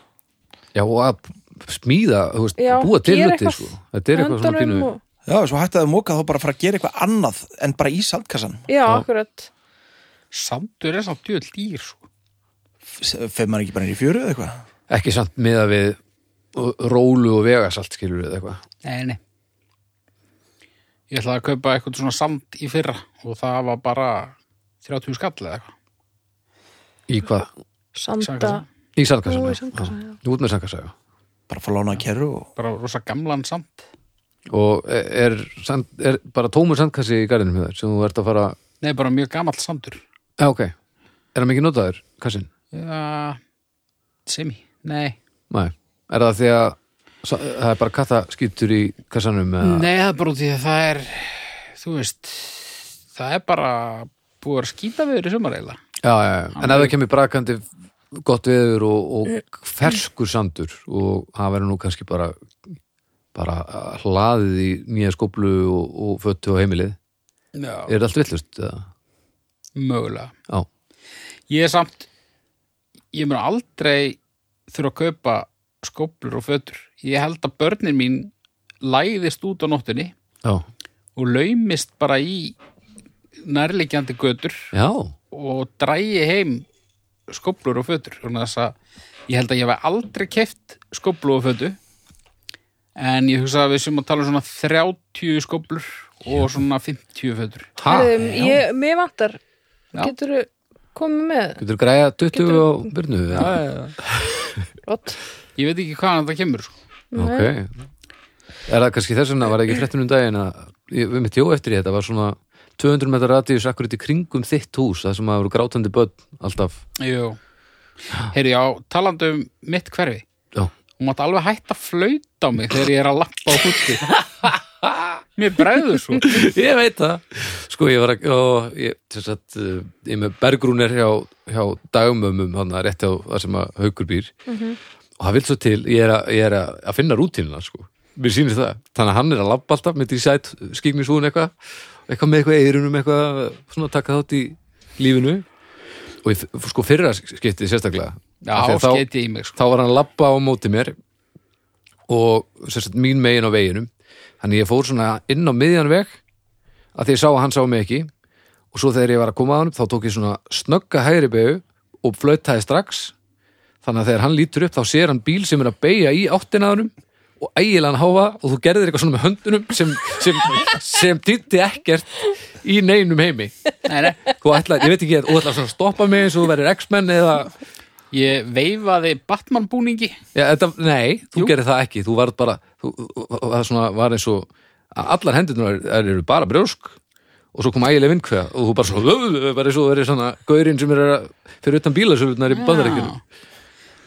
já, og að smíða þú veist, Já, búa til gera hluti eitthvað sko. þetta er eitthvað svona höndunum pínu og, já svo hætti að móka þá bara að fara að gera eitthvað annað en bara í sandkassan já, akkurat sandur er samt djöð dýr sko. Fef maður ekki bara inn í fjöru eða eitthvað ekki samt með að við rólu og vegasalt skilur við eitthvað Nei, nei Ég ætlaði að kaupa eitthvað svona sand í fyrra og það var bara 30 skall eða eitthvað Í hvað? sanda Sandkassa. Í sandkassana? Jú, í sandkassann, já. Út með sandkassa, já. Bara að fá lána að kerru og bara rosa gamlan sand Og er, sand, er bara tómur sandkassi í garðinum hjá þér sem þú ert að fara... Nei, bara mjög gamall sandur Já, ok. Er það mikið notaður, kassin? Já, semi, nei Nei. Er það því að sa- það er bara kattaskýttur í kassanum? Eða... Nei, það er bara út í því að það er þú veist það er bara búið að skýta við þér í sumar eiginlega Já, já, já. En ef það kemur brakandi gott veður og, og ferskur sandur og það verður nú kannski bara bara hlaðið í nýja skóplu og, og föttu á heimilið. Já, Er það allt villust? Já. mögulega Ég er samt ég mun aldrei þurfa að kaupa skóplur og fötur ég held að börnin mín læðist út á nóttunni Já. og laumist bara í nærliggjandi götur Já. og drægi heim skóplur og fötur svona þess að ég held að ég hef aldrei keft skóplu og fötu en ég hugsa að við sem að tala um svona 30 skóplur og svona 50 fötur Ha? Herðum, ég, mér vantar Já. getur komið með Getur græða 20 á byrnu? Já, Rott. ég veit ekki hvaðan þetta kemur sko. Ok. Er það kannski þess vegna, var það ekki fréttunum daginn að ég- við mitt jó eftir í þetta var svona 200 metrar radíus akkur í kringum þitt hús, það sem að voru grátandi börn alltaf. Jú Heyri, já, talandi um mitt hverfi Já. Hún mátt alveg hætta að flauta á mig þegar ég er að lappa á hútti Mér bregður svo ég veit það. Sko, ég var að, ó, ég, þess að, uh, ég er með bergrúnir hjá, hjá dagmömmum, hann að rétti á það sem að haukur býr. Og það vil svo til, ég er að, ég er að, að finna rútínuna, sko. Mér sýnir það. Þannig að hann er að labba alltaf, mitt í sæt, skikmisúin eitthvað, eitthvað með eitthvað eirunum, eitthvað, svona taka þátt í lífinu. og ég, sko fyrra skiptið sérstaklega Já, Af því að skeiti ég í mig sko. þá var hann að labba á móti mér og sérstaklega mín megin á veginum þannig ég fór svona inn á miðjan veg að því ég sá að hann sá mig ekki og svo þegar ég var að koma á hann þá tók ég svona snögga hægri begu og flautaði strax þannig að þegar hann lítur upp þá sér hann bíl sem er að beigja í áttinaðunum og ægilega hann háfa og þú gerðir eitthvað svona með höndunum sem, sem, sem týtti ekkert í neinum heimi Nei, nei, þú ætlaði, ég veit ekki, þú ætlaði svona að stoppa mig eins og þú verður X-Men eða, Ég veifaði Batman búningi já, þetta, nei, þú Jú. gerir það ekki, þú varð bara, þú, það svona var eins og, að allar hendurnar þær eru bara brjósk og svo kom ægileg vindkveða og þú bara svona, bara eins og þú verður svona gaurinn sem er að, fyrir utan bílasöfurnar í bandarækjunum.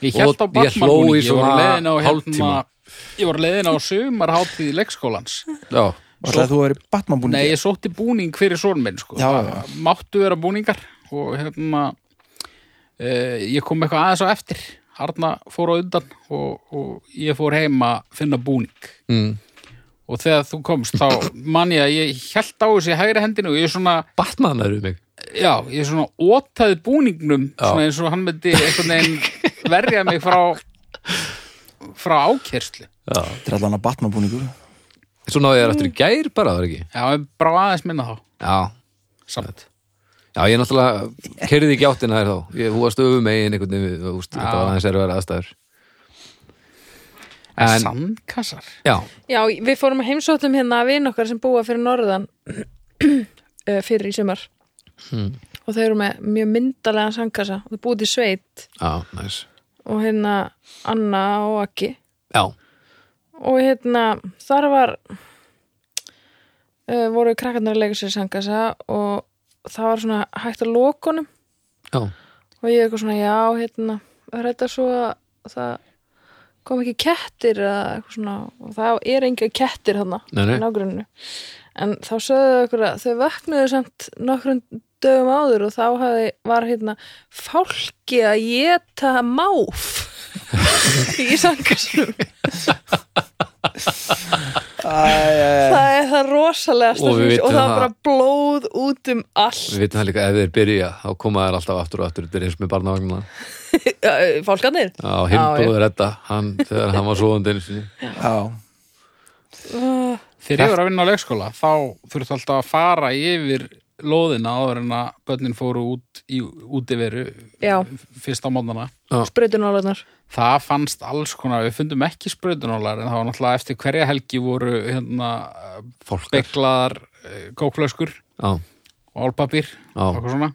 Ég held á Og ég Batman hló í búningi Ég svona var leiðin á hérna hálftíma. Ég var leiðin á sumarháttíð leikskólans Já, Og ætlaði þú að vera í Batman búin Nei, ég sótti búning fyrir són minn sko. Já, Það já. Máttu vera búningar og hérna e, ég kom eitthvað aðeins á eftir Arna fór á undan og, og ég fór heim að finna búning mm. og þegar þú komst þá man ég að ég held á þessi hægri hendinu og ég svona, Batman eru mig já, ég svona ótaði búningnum svona eins og hann myndi einhvern veginn verja mig frá frá ákerslu Já. Þetta er allan að batna búningur Svo náði ég þér eftir í gær bara, það er ekki Já, ég brá aðeins minna þá Já, samt já ég náttúrulega kerði ekki áttina þér þá Ég húast öfu megin einhvern veginn við- þú veist, Þetta var aðeins er að vera aðstæður En En, sandkassar já, Já, við fórum að heimsóttum hérna að vin okkar sem búa fyrir norðan eh, fyrir í sumar og þau eru með mjög myndalega sangkassa og þau búið til sveit já, næs og hérna Anna og Akki Já, og hérna þar var uh, voru krakkarnar að leika sér í sangkassa og það var svona hægt að lokunum já, og ég eitthvað svona já, hérna þetta svo að það kom ekki kettir eða eitthvað svona og það er enga kettir þarna Nei, nei. í nágruninu en þá sögðu þau okkur að þau vaknaðu samt nokkrum dögum áður og þá hafði, var hérna fálki að geta máf í sangarsum Æ, það er það rosalega Og við vitum og það var það. bara blóð út um allt við vitum það líka ef þeir byrja þá koma þær alltaf aftur og aftur þetta er eins með barnavagnar Eh, fálkarnir Já, hinn Já, já. bróður þetta, hann, þegar hann var svoðandi einu sinni Já, Þegar ég var að vinna á leikskóla þá þurftu alltaf að fara yfir lóðina áður en að börnin fóru út í útiveru já, fyrst á mótnana. sprautunólarnar Það fannst alls konar, við fundum ekki sprautunólar en það var náttúrulega eftir hverja helgi voru hérna eh, Fólkar beklaðar kóklöskur Já, og álpapír Já. og svona.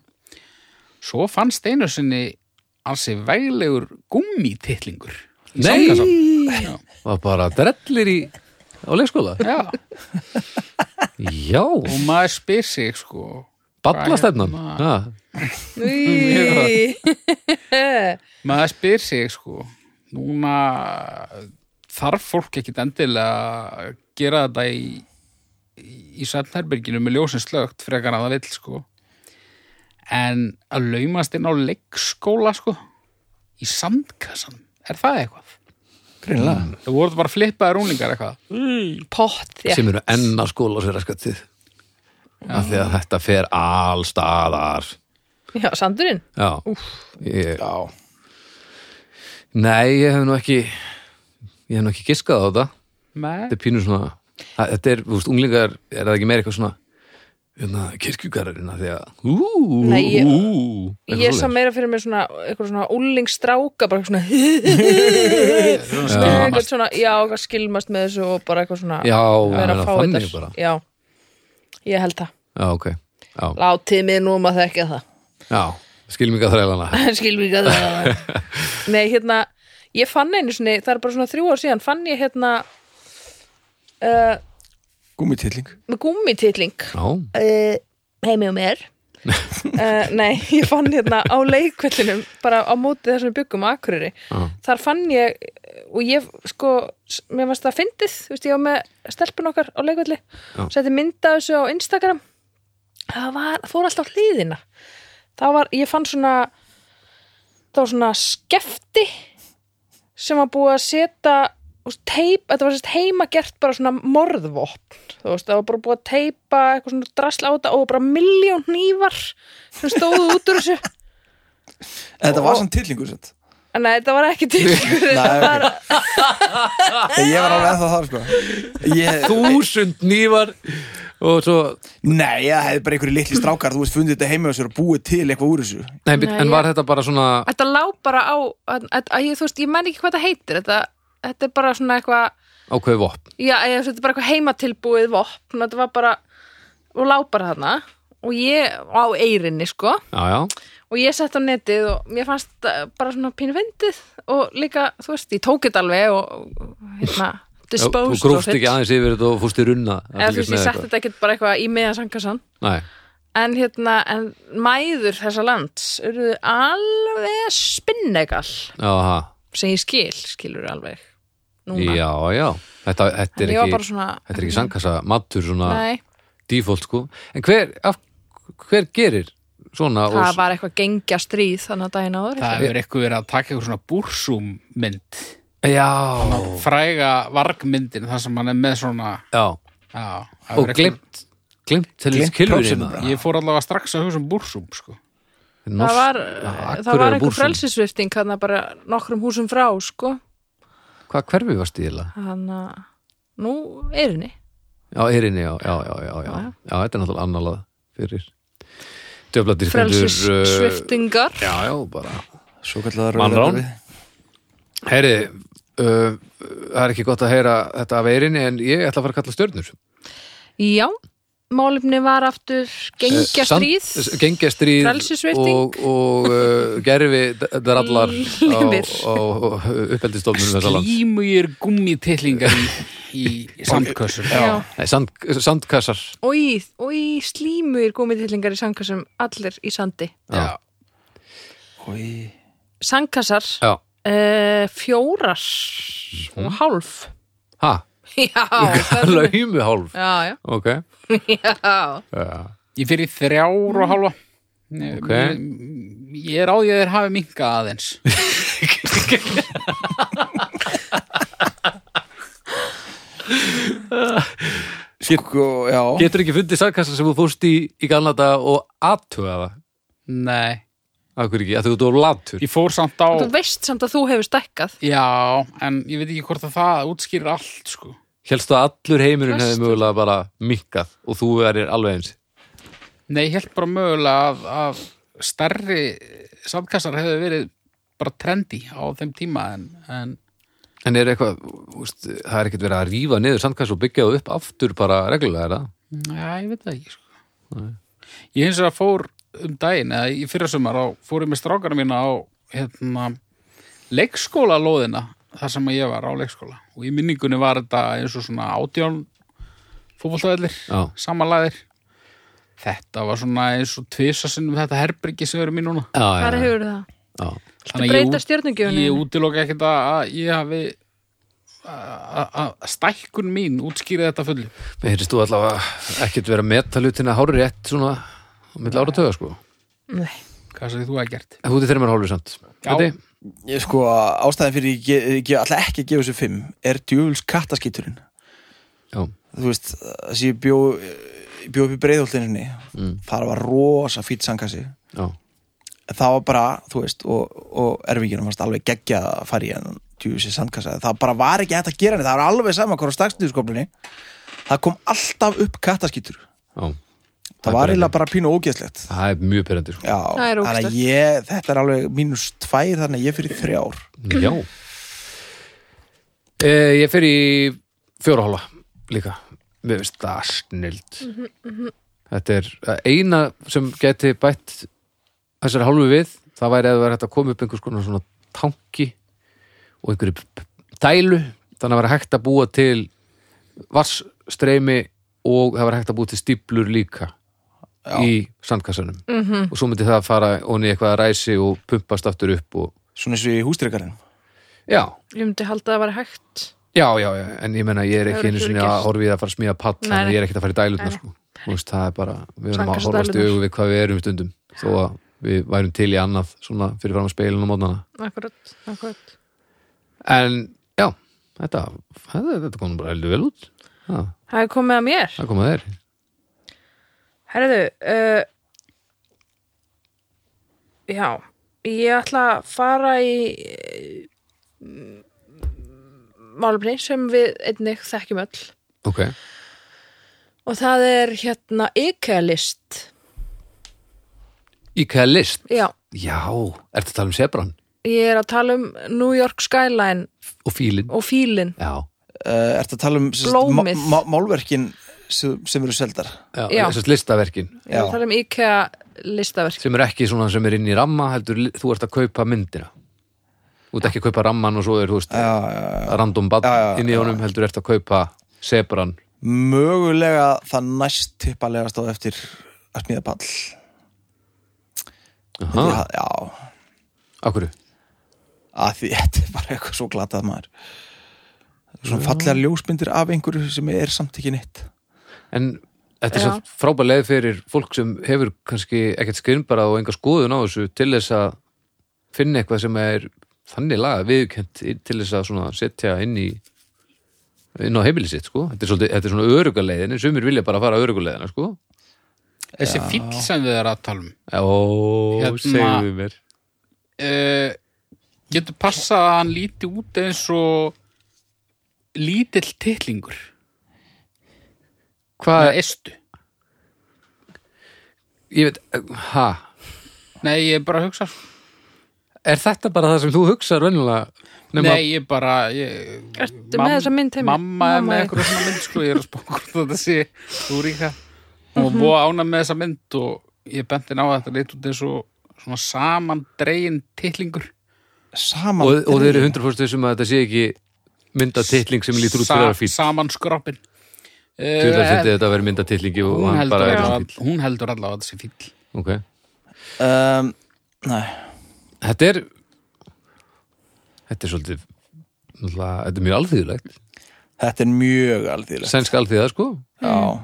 Svo fannst einu sinni ansi veglegur gummititlingur. í Nei! sandkassa. Já. var bara drellir í á leikskóla Já, Já, og maður spyr sig sko ballastefnan Hvað Já, Í. maður spyr sig sko núna þarf fólk ekkit endilega að gera þetta í í svefnherberginu með ljósin slögt frekar að það vill sko en að laumast inn á leikskóla sko í sandkassan, er það eitthvað? greinlega Það voru bara flippaði rúningar eitthvað pott, já sem eru enn að skóla sér að skattið af því að þetta fer allstaðar Já, sandurinn. Já, ég, Já, nei, ég hef nú ekki ég hef nú ekki giskað á þetta Nei, þetta er pínu svona það- þetta er, þú veist, unglingar, er það ekki meira eitthvað svona hérna, kirkjugararinn af því að ú, ú, Nei, ég- ú eitthvað Ég sá svoleiðis. meira fyrir mér svona, eitthvað svona úlingstráka, bara eitthvað svona, eitthvað skilmast. svona, já, eitthvað skilmast með þessu og bara eitthvað svona, Já, vera meina, að fá þannig þetta. bara Já, ég held það. Já, ok, já, Látið mig nú um að þekka það. já, skilminga þrælana Skilvíka það. Nei, hérna, ég fann einu sinni, það er bara svona þrjú ár síðan, fann ég hérna uh, gúmitilling með gúmititling. Já, uh, heimi og mér uh, Nei, ég fann hérna á leikvellinum bara á móti þessum byggum á Akureyri Já. þar fann ég og ég sko, s- mér varst það fyndið þú veist, ég var með stelpun okkar á leikvelli Já. setti mynda þessu á Instagram það var, það fór alltaf á hliðina það var, ég fann svona það var svona skefti sem var búið að setja þú veist, teip, þetta var sérst heima gert bara svona morðvopn þú veist, það var bara búið að teipa eitthvað svona drasla á þetta og bara miljón nývar sem stóðu út úr þessu En þetta var samt tillingur sett en nei, þetta var ekki til þetta Nei, var, Ég var alveg ennþá þar sko ég, þúsund nývar og svo Nei, það hefði bara einhverju litli strákar Þú veist, fundið þetta heima á sér og búið til eitthvað úr þessu Nei, Nei, Nei, en var þetta bara svona þetta lá bara á að, að, að, ég, þú veist, ég menn ekki hvað þetta heitir þetta, þetta er bara svona eitthvað ákveð vopn? já, ég, þetta er bara eitthvað heimatilbúið vopn þetta var bara, og lá bara þarna og ég á eirinni sko Já, já, og ég sett á netið og mér fannst það bara svona pínu fyndið og líka, þú veist, ég tók þetta alveg og og hérna, Já, þú disposed of grófst it ekki aðeins yfir þetta og fórst í runna að eða þú fylgjast veist, ég með sett eitthvað. þetta ekkert bara eitthvað í meðan sangasann Nei, en hérna, en mæður þessa lands eruðu alveg spinnegal já, ha. sem ég skil, skilur alveg núna, já, já Þetta, þetta er En ég var bara ekki, svona- þetta er ekki sangkassa matur svona nei default sko En hver, af, hver gerir svona og það var eitthvað gengja stríð þannig að daginn áður Það hefur eitthvað verið að taka eitthvað svona búrsúmmynd já, fræga vargmyndin þar sem hann er með svona já, já, það og hefur eitthvað- glimt glimt til þess Gleymt kilfurinn prósenum maður. bara. Ég fór allavega strax að hugsa um búrsúm sko. það Norsk- var, já, það Akureyrar var einhver Búrsum. frelsisvifting hann bara nokkrum húsum frá sko hvað hverfi varst í eiginlega? hann að nú er henni Já, Eirinni, já, já, já, já, já. já þetta er náttúrulega annarlað fyrir djöflatir frelsisviftingar Já, já, bara Svo kallar Mannrán. Heyri, uh, það er ekki gott að heyra þetta af Eirinni en ég ætla að fara að kalla stjörnur já, málefni var aftur gengja stríð Eh, Gengja stríð Frelsissvipting. og, og uh, gerfi d- drallar á, Limir. á, á uppeldistofnunum þessa lands Límugir gummitillingar í, í samkössum Já. Nei, sand, Sandkassar og í, og í slímur gómiðtillingar í sandkassum allir í sandi Já. Í... sandkassar Já, uh, fjórar og hálf ha, já, það er- laumuhálf já, já, Ok, já já Ég fyrir þrjár og halva Ok. Ég- Ég er á því að þeir hafi minkað aðeins Sko, já Getur ekki fundið sandkassa sem þú fórst í í Galnata og aðtuga það? Nei, Akkur ekki, að þú ert of latur ég fór samt á þú veist samt að þú hefur stækkað Já, en ég veit ekki hvort að það útskýrir allt sko. Hélstu að allur heimurinn hefði Fast. mögulega bara mikkað og þú verir alveg eins Nei, ég held bara mögulega að, að stærri sandkassar hefði verið bara trendy á þeim tíma en, en En er eitthvað, úst, það er ekkert verið að rífa niður sandkassa og byggja þú upp aftur bara reglulega er það? Já, ég veit það ekki sko. Ég hins vegar fór um daginn eða í fyrrasumar á, fór ég með strákana mína á hérna, leikskóla lóðina þar sem að ég var á leikskóla og í minningunni var þetta eins og svona átján fótboltavellir Já. samanlæðir Þetta var svona eins og tvisasinnum þetta herbyrgi sem eru mín núna Já, hvað já, hefur það? já. Þannig að ég breyta út- stjörnugjöfunni Ég útiloka ekkert að að ég hafi að- að að stækkun mín útskýri þetta fullu Mér heyrist þú allavega ekkert verið að meta hlutina hári rétt svona á milli ára töga sko Nei. Hvað sem þú hafi gert? En Þú ert þeirra mér hálfur samt Já. Þetta? Ég sko, ástæðan fyrir ég, ge- ég, ég ætla ekki að gefa þessu fimm er djöfuls kattaskíturinn Já, þú veist, þess að ég bjó ég bjó upp í breiðholtininni mm. það var rosa fýtt sangkassi já, það var bara, þú veist, og, og erfinginum varst alveg geggjað að fara í en djúsi sandkassa, það bara var ekki hægt að gera henni það var alveg sama hvað á stakksniðurskoplinni það kom alltaf upp kattaskítur það, já er bara var eiginlega bara pínu ógeðslegt Það er mjög perandi sko Já, Það er þannig að ógeðslegt. ég, þetta er alveg mínus tvær, þannig að ég er fyrir þrjár Já Mhm. eh, Ég fer í fjóra hóla líka Mér finnst það snild Þetta er eh, eina sem geti bætt þessari hálfu við það væri að það væri hægt að koma upp einhvers konar svona tanki og einhverju p- p- dælu þannig að væri hægt að búa til vassstreimi og það væri hægt að búa til stíplur líka í sandkassanum -hmm. og svo myndi það fara onni í eitthvað að ræsi og pumpast aftur upp og svona eins og í hústrykarinn já, ég myndi halda að það var hægt Já, já, já, en ég menna ég er Það ekki hefur einu ekki sinni verið að gert. horfa í það að fara að smíða pall þannig að nei. ég er ekkert að fara í dælutna sko. Þú veist, það er bara, við erum að Sannkastu horfast í dælurnar. augu við hvað við erum stundum þó að við værum til í annað svona fyrir fram að speilin og mótnana akkurat, akkurat. En já, þetta, þetta, þetta kom nú bara heldur vel út Já, það er komið að mér það kom að þeir Herðu, uh, já, ég ætla að fara í uh, málumni sem við einnig þekkjum öll Ok, og það er hérna IKEA-list. IKEA list Já, Já, ertu að tala um sebran ég er að tala um New York Skyline og fílin og fílin. Já, uh, Ertu að tala um sem sagt, Blómið. má- má- málverkin sem, sem eru seldar já, Já. þessast listaverkin Ég er Já. að tala um IKEA-listaverk. sem er ekki svona sem er inn í ramma heldur, li- þú ert að kaupa myndina Þú ert ekki að kaupa ramman og svo er, þú veist, Já, já, já random Já, já, bann inn í honum heldur eftir að kaupa sebran mögulega það næst tippalega stóð eftir að smíða pall Aha, Já, já, akkur að því þetta er bara eitthvað svo glatað maður svona fallegar ljósmyndir af einhverju sem er samt ekki neitt en þetta er Já. svo frábæð leið fyrir fólk sem hefur kannski ekkert skynbara og enga skoðun á þessu til þess að finna eitthvað sem er þannig laga viðkjönt til þess að svona setja inn í inn á heimili sitt sko þetta er, svolítið, þetta er svona örugaleiðin, sumir vilja bara fara örugaleiðina sko þessi fíll sem við erum að tala um Ó, Hérna- segðu mér uh, getur passað að hann líti út eins og lítill titlingur Hvað, eða eistu ég veit, ha nei, ég bara hugsa sko. er þetta bara það sem þú hugsar venjulega nema nei, ég bara ég, Ertu með þessa mynd heimi? mamma er Mamma með er- eitthvað svona mynd sko, ég er að spá hvort þetta sé þú ríka Mhm. og búa ána með þessa mynd og ég benti ná að þetta leit út eins og svona saman dregin titlingur Saman og, og þeir eru Ehm, 100% þessum um að þetta sé ekki mynda titling sem lítur út fyrir að fíl saman skroppin Þú þar setið þetta að vera mynda titlingi og Eh, hún hann heldur, bara er allavega- fíl hún heldur allavega að þetta sé fíll okay. um, Nei, Þetta er Þetta er svolítið náttúrulega, Þetta er mjög alþýðulegt þetta er mjög alþýðilegt Sænsk alþýða sko Já,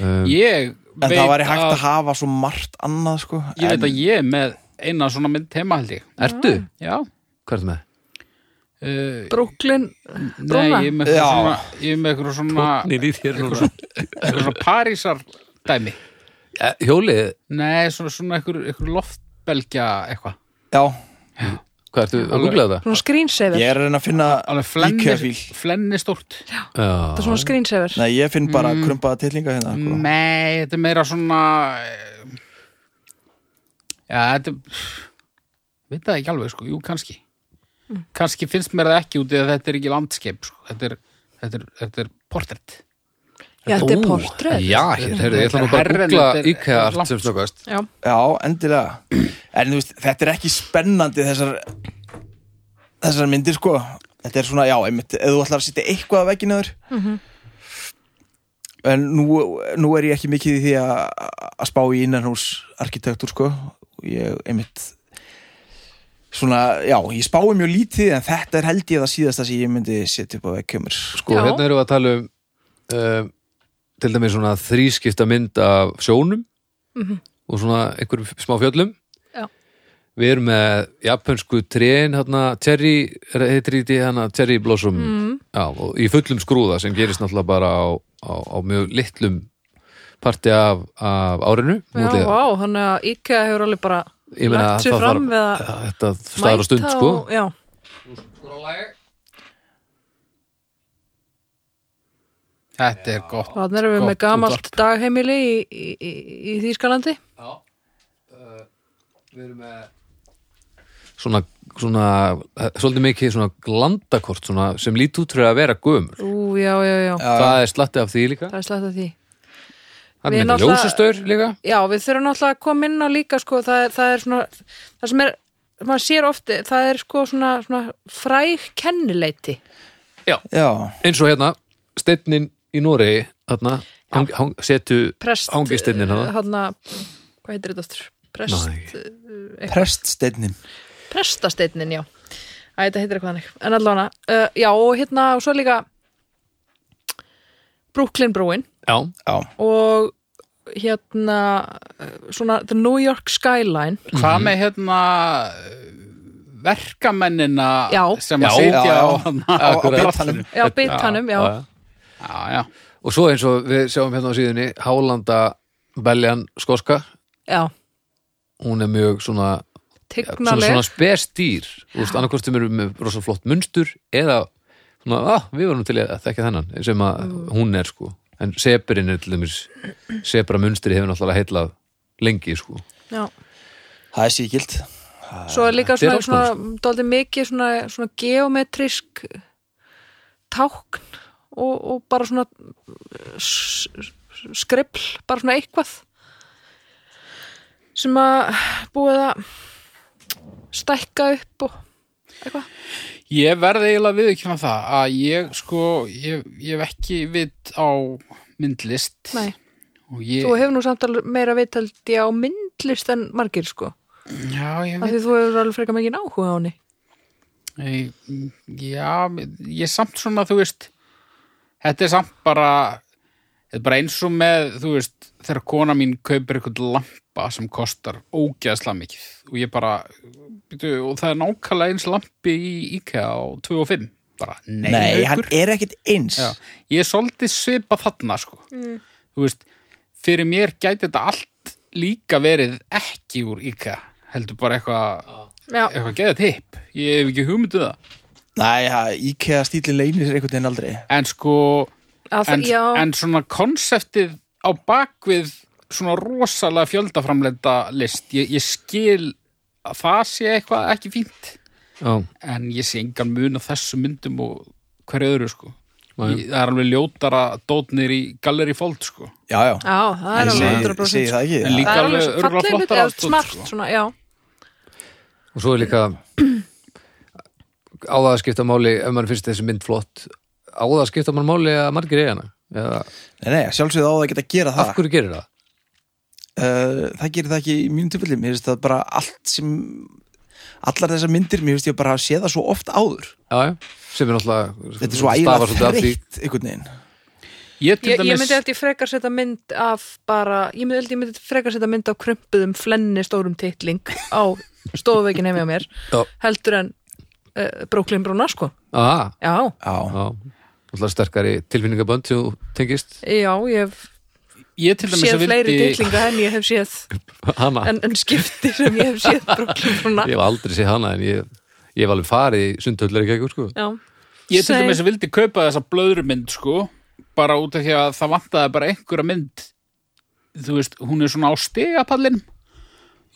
Um, ég en veit það væri hægt að, að hafa svo margt annað sko ég veit en, að ég er með eina svona mynd heima held ég Ertu? já Hvað ertu með? uh, Brooklyn nei, Brúna? ég er með eitthvað Já. svona, ég er með eitthvað svona, Tóknin í þér núna eitthvað svona parísar Ja, dæmi Eh, Hjólið, nei, svona, svona eitthvað, eitthvað loftbelgja eitthvað Já, hvað ertu að googla þetta? Svona screensaver ég er að reyna að finna alveg IKEA-fíl. flennir, flennir stórt Sko. Það er svona screensaver Nei, ég finn bara Mm. krumpaða tillinga hérna sko. nei, þetta er meira svona eh, já, þetta er veit það ekki alveg sko, jú, kannski kannski finnst mér það ekki út eða þetta er ekki landskeip sko. þetta er, þetta er, þetta er portrætt Já, þetta er Ó, portrætt Já, hér, herri, ég ætla nú bara að Herren, googla þetta er- IKEA langt, allt sem snöggast Já, Já, endilega En þú veist, þetta er ekki spennandi þessar þessar myndir sko Þetta er svona, já, einmitt, ef þú ætlar að setja eitthvað að vegginu þur En nú, nú er ég ekki mikið í því að að spá í innanhús arkitektur sko Ég, einmitt Svona, já, ég spái mjög lítið en þetta er held ég það síðasta sem ég myndi setja upp á vekkjumur Sko, Já. hérna erum við að tala um uh, til dæmis svona þrískipta mynd af sjónum og svona einhverjum smá fjöllum Mhm. Já. Við erum með japansku trén, hérna, cherry heitir í því hérna, cherry blossom Mhm. já, og í fullum skrúða sem gerist náttúrulega bara á, á, á mjög litlum parti af, af árinu já, mútlega. vá, þannig að IKEA hefur alveg bara Ég meina lagt að sér það fram við að Þetta staðar á stund, mæta sko og, Já, þetta er gott þannig erum við gott með gamalt útvarp. dagheimili í, í, í, í Þýskalandi uh, Við erum með svona, svona, eh, svolítið mikið svona glandakort svona, sem lít út fyrir að vera gömur Ú, já, já, já, það er slatti af því líka það er slætt að því hann Við er með náttúrulega- ljósastaur líka Já, við þurfum náttúrulega að koma inn á líka sko, það, er, það er svona það sem er, maður sér ofti það er sko svona, svona fræg kennileiti Já, eins og hérna, steinnin í Noregi þarna, hang, hang, setu prest Hangisteinninn hana. hana, hvað heitir þetta aftur? Prest, Nei. preststeinnin prestasteinnin, já Æ, þetta heitir eitthvað hannig, en allána uh, Já, og hérna, og svo líka Brooklyn brúin já, Já, og hérna uh, svona the New York skyline hvað með hérna eh, verkamennina Já. sem að Já. sitja Já, já. á hann á, á Akkurat. bitanum já, bitanum, já, já. já, já. og svo eins og við sjáum hérna á síðunni Hálanda Beljan Skoska já. hún er mjög svona svona, tignaleg svona spestýr annarkostum eru með rosa flott munstur eða svona, ah, við varum til í að þekka þennan sem að hún er sko en sebrinn er til dæmis sebra munstri hefur náttúrulega heillað lengi sko já. Það er síkild svo er líka Þetta er svona, alls svona, konar, svona dálítið mikið svona, svona geometrisk tákn og, og bara svona eh, s- s- skrifl, bara svona eitthvað sem að búið að stækka upp og eitthvað Ég verði eiginlega viðurkjöna það að ég sko, ég, ég hef ekki vitt á myndlist Nei, og ég, þú hefur nú samt alveg meira vitaldi á myndlist en margir sko já, ég af veit því þú hefur alveg frekar mikið áhuga á henni ég, já, ég er samt svona, þú veist þetta er samt bara Þetta er bara eins og með, þú veist, þegar kona mín kaupir eitthvað lampa sem kostar ógeðslega mikið og ég bara, byrju, og það er nákvæmlega eins lampi í IKEA á 2 og 5, bara, nei, Nei, hann haukur. er ekkit eins Já, ég er svolítið svipa þarna, sko. Þú veist, fyrir mér gæti þetta allt líka verið ekki úr IKEA, heldur bara eitthvað, Já, eitthvað geða tipp, ég hef ekki hugmynduð það. Nei, ja, IKEA stílinn leynir sér einhvern veginn aldrei En sko, að, en, já, en svona konseptið á bakvið svona rosalega fjöldaframlenda list, ég, ég skil að það sé eitthvað ekki fínt já, en ég sé engan mun á þessu myndum og hverju öðru sko Nei. ég, það er alveg ljótara dótnir í Gallery Fold sko Já, já, já, það ég er alveg segi- segi 100% það en ekki líka Það er alveg alveg svo örgulega falleg hluti, flottara eða dót, smart, sko. svona, já. og svo er líka á það að skipta máli ef mann finnst þessi mynd flott á það að skipta mann máli að margir eiga hana eða Nei, nei, sjálfsögðu á það að geta að gera af það hverju gerir það? uh, það gerir það ekki í mínum tilfellum mér finnst það bara allt sem allar þessar myndir, mér finnst ég bara að sé það svo oft áður Já, já, sem er náttúrulega þetta er svo Mhm. stafar ægilega svolítið af því- þreytt einhvern veginn ég, til Ég, ég myndi dæmis- held ég frekar setja mynd af bara, ég myndi held ég myndi frekar setja mynd af krumpuðum flenni stórum titling á stofuveikin heimi á mér Já. heldur en uh, Brooklyn Bruna sko, Ah, já já, já, náttúrulega sterkari tilfinningabönd sem þú tengist Já, ég hef ég til dæmis séð að fleiri vildi titlinga en ég hef séð hana, en, en skipti sem ég hef séð Brooklyn Bruna ég hef aldrei séð hana en ég, ég hef alveg farið í sundhöllar ekki sko. Já, ég til Same. dæmis að vildi kaupa þessa blöðrumynd sko, bara út af því að það vantaði bara einhverja mynd þú veist, hún er svona á stegapallin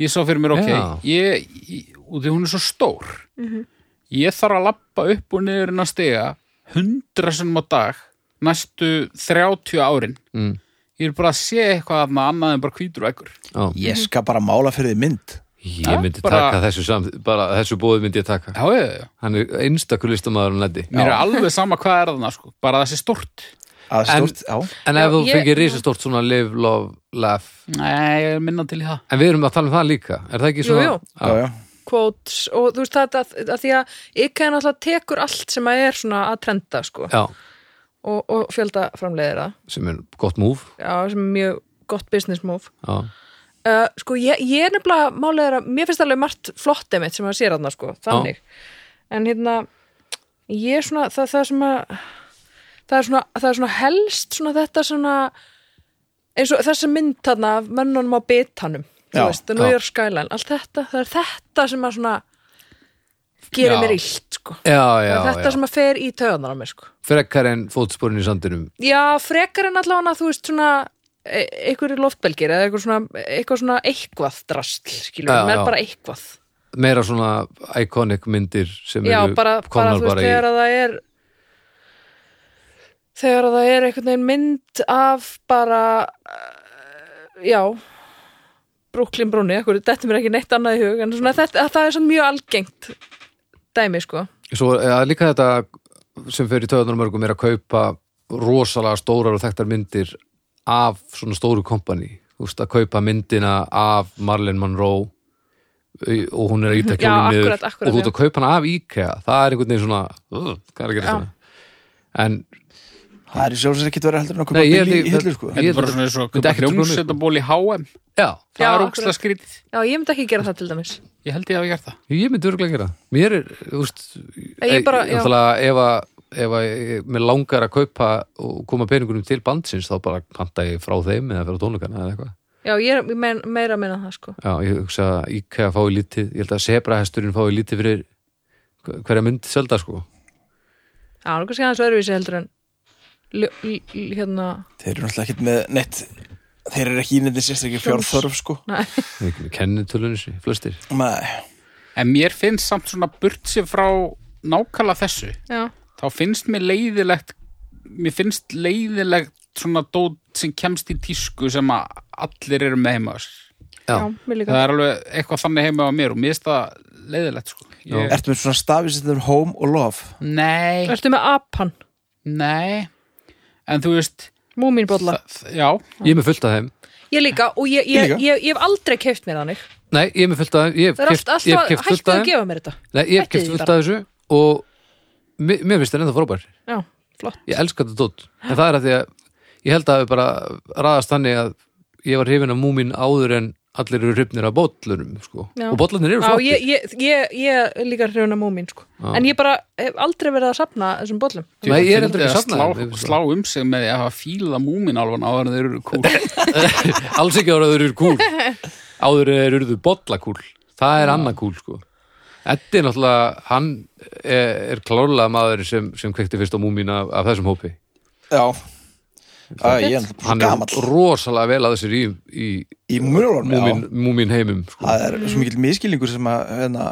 ég sá fyrir mér ok Já. ég, ég, og því hún er svo stór Mhm. ég þarf að lappa upp og niður en að stega hundra sinnum á dag næstu 30 árin mm, ég er bara að sé eitthvað þarna annað en bara hvítur ekkur já. ég skal bara mála fyrir því mynd ég myndi bara- taka þessu sam, bara þessu bóði myndi ég taka já, já, já. hann er einstakur listamæður en þetta mér er alveg sama hvað er þarna sko, bara þessi stort að En- stort, já, en Já, ef þú ég- fengir risastort svona live, love, laugh nei, ég er minna til í það en við erum að tala um það líka er það ekki jú, svona jú já, já quotes og þú veist þetta að, að því að IKEA náttúrulega tekur allt sem að er svona að trenda sko Já, og, og fjölda framleiðir það sem er gott múf Já, sem er mjög gott business move já. Uh, sko, ég, ég er nefnilega málega að mér finnst alveg margt flott emitt sem að sér þarna sko, þannig en hérna, ég er svona það, það sem að það er svona, það er svona helst svona þetta svona eins og þessi mynd þarna af mönnunum á bitanum þú Já, veist, New já. York Skyline, allt þetta það er þetta sem að svona gerir Já. mér illt sko Já, já, það er þetta já. sem að fer í töðanar á mér sko frekar en fótsporin í sandinum Já, frekar en allavega þú veist svona e- einhverju loftbelgir eða eitthvað svona, eitthvað svona eitthvað drastl, skilur, Já, já, með já. bara eitthvað meira svona iconic myndir sem Já, eru bara, bara komnar þú veist, bara í þegar að það er þegar að það er einhvern veginn mynd af bara eh, já Brooklyn Brúni, ekkur, þetta mér ekki neitt annað í hug, en svona þetta, að það er svona mjög algengt dæmi, sko Svo ja, líka þetta sem fer í töðunar mörgum er að kaupa rosalega stórar og þekktar myndir af svona stóru kompani veist, að kaupa myndina af Marlon Monroe í- og hún er að íta Mhm. Já, kjólum niður akkurat, akkurat, og þú ert að kaupa hana af IKEA það er einhvern veginn svona uh, hvað er að Já. gera svona en það er sjálfsögðu ekki verið heldur en okkur Nei, ég billi held í ég- hillu sko þetta Ég er bara held- svona eins og myndi ekkert trúa mér, sko. hljómsveitabóli HM já, Já, það er akkurat. ókslega skrítið Já, ég myndi ekki gera það til dæmis Ég held ég hafi gert það. ég myndi örgulega gera það. mér er, þú veist Ég bara- já. náttúrulega ef að ef að ég- mér langar að kaupa og koma peningunum til bandsins þá bara panta ég frá þeim eða fyrir tónleikana eða eitthvað Já, ég er men, meira að meina það, sko Já, ég hugsa að IKEA fái lítið ég held að Sebrahesturinn fái lítið fyrir hver- hverja mynd selda sko Já, það er kannski aðeins öðruvísi heldur en ljó- l- l- hérna þeir eru náttúrulega ekki með neitt þeir eru ekki í neitt sérstaklega fjárþörf sko Ég ekki með kennitölunis, flestir Nei. En mér finnst samt svona burt sér frá nákvæmlega þessu. Já, Þá finnst mér leiðilegt, mér finnst leiðilegt svona dót sem kemst í tísku sem að allir eru með heima. á sér. já, mér líka Það er alveg eitthvað þannig heima á mér og mér finnst það leiðilegt sko. Ég, ertu með svona stafi sem þeir home og love nei, Ertu með apan, nei. En þú veist, múmínbolla það- já, Ég er með fullt af þeim Ég líka, og ég, Ég ég, líka. ég, ég, hef aldrei keift mér þannig Nei, ég er með fullt af þeim Ég hef Það er allt, keypt- ég hef alltaf, keypt fullt hættu af að þeim gefa mér þetta Nei, ég hef Hættið keft því fullt bara. af þessu og mér, mér finnst það ennþá frábær Já, flott Ég elska þetta tótt En það er að því að ég held að við bara raðast þannig að ég var hrifin af múmin áður en allir eru hrifnir af bollunum sko. Já. og bollunir eru Já, flottir ég, ég, ég, ég er líka hrjóna múmin sko. en ég bara hef aldrei verið að safna þessum bollum Nei, ég er Fyndi heldur ekki að safnað slá- þeim, ég- Slá um sig með því að hafa fíla múmin alvan áður en þeir eru kúl alls ekki ára þeir eru kúl áður en þeir eru bollakúl það er annað kúl sko Eddi náttúrulega, hann er, er klárlega maður sem, sem kveikti fyrst á múmin af, af þessum hópi Já Æ, Ég er náttúrulega hann svo gamall er rosalega vel að þessir í, í Í múmíunum, múmin, múmin heimum sko. Það er svo mikil miskilningur sem að hérna,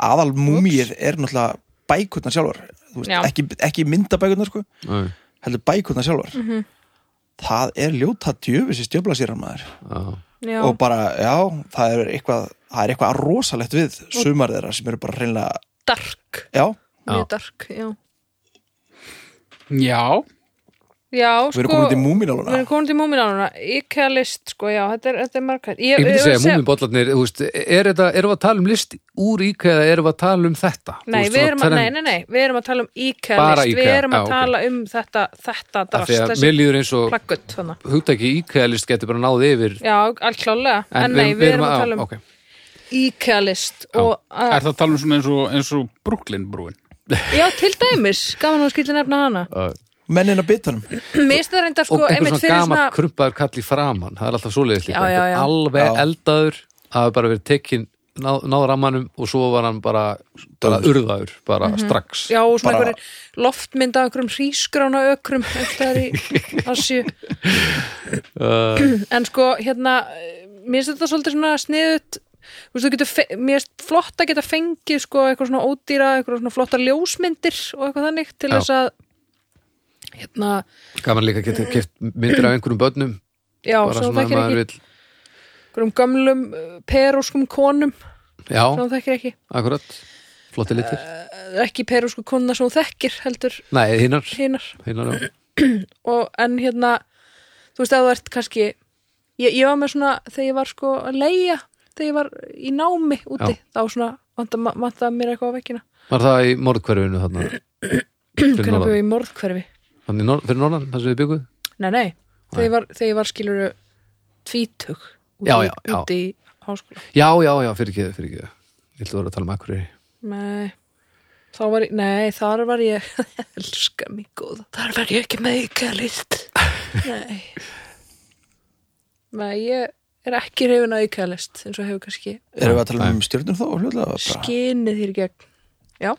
aðal múmíið er náttúrulega bækurnar sjálfar Þú veist, Já. ekki, ekki myndabækurnar sko Nei, heldur bækurnar sjálfar Mhm. Það er ljóta djöfis í stjöflasýran maður já. Já, og bara, já, það er eitthvað það er eitthvað rosalegt við sumar þeirra sem eru bara reynlega, dark, já, Já. mjög dark Já, Já, já við sko erum komin út í Við erum múmínáluna komin til múmin ánuna, íkja list sko, já, þetta er, þetta er margar Ég, Ég myndi ég- segja múminbollarnir, þú veist, er þetta, erum við að tala um list úr íka eða erum við að tala um þetta? Þú Nei, veist, við það erum, að, tala nei, nei, nei, við erum að tala um IKEA Bara list, við IKEA, erum að já, ok. tala um þetta, þetta Af því drast, að þessi mér líður eins og plaggött þannig. hugtæki íka list getur bara náð yfir. Já, allt klálega, en, nei, við, erum að tala um ok. IKEA list og er að, það að tala um svona eins og, eins og Brooklyn brúin já, til dæmis, gaman að skilja nefna hana. mennin að bitanum Mér stæður enda Og sko, einhver einmitt svona fyrir gamall svona, krumpaður kall í framann, það er alltaf svoleiðis líka. Já, já, já. Einhver Alveg Já. eldaður, það hefur bara verið tekinn, náð, náð rammanum og svo var hann bara, bara urðaður, bara strax. Mhm. já, og svona bara- einhverjir loftmynd af einhverjum hrísgrána ökrum eftir í Asju. Uh. en sko, hérna, mér stæður þetta svolítið svona sniðut, Þú veist, þú getur, fe- mér er flott að geta fengið sko eitthvað svona ódýra, eitthvað svona flotta ljósmyndir og eitthvað þannig til Já. þess að hérna, Gaman líka getur keft myndir af einhverjum börnum, já, bara sem þú svona að þekkir maður ekki vil. einhverjum gömlum uh, perúskum konum sem Já, hún þekkir ekki akkurat, flotti litir. Eh, ekki perúsku konuna sem hún þekkir heldur Nei, hinnar, hinar hinnar, já. og en hérna þú veist að þú ert kannski ég, ég var með svona þegar ég var sko að leia þegar ég var í námi úti Já. þá svona vantaði vanta mér eitthvað á vekkina Var það í morðkverfinu þarna? Fyrir hvernig norðan, byggjum í morðhverfi Þannig nor fyrir norðan, þar sem við byggum nei nei, þegar ég var, þegar ég var skiluru tvítug úti, Já, já, já. úti í háskóla Já, já, já, fyrir ekki, fyrir ekki Ég ætla að vera að tala um akkur nei, þá var ég nei, þar var ég elska mig góða, þar var ég ekki með ykkar list nei nei, ég er ekki reyfin á ykkar list eins og hefur kannski erum við að tala um stjörnum þá hljóðlega bara, skinið þér í gegn já,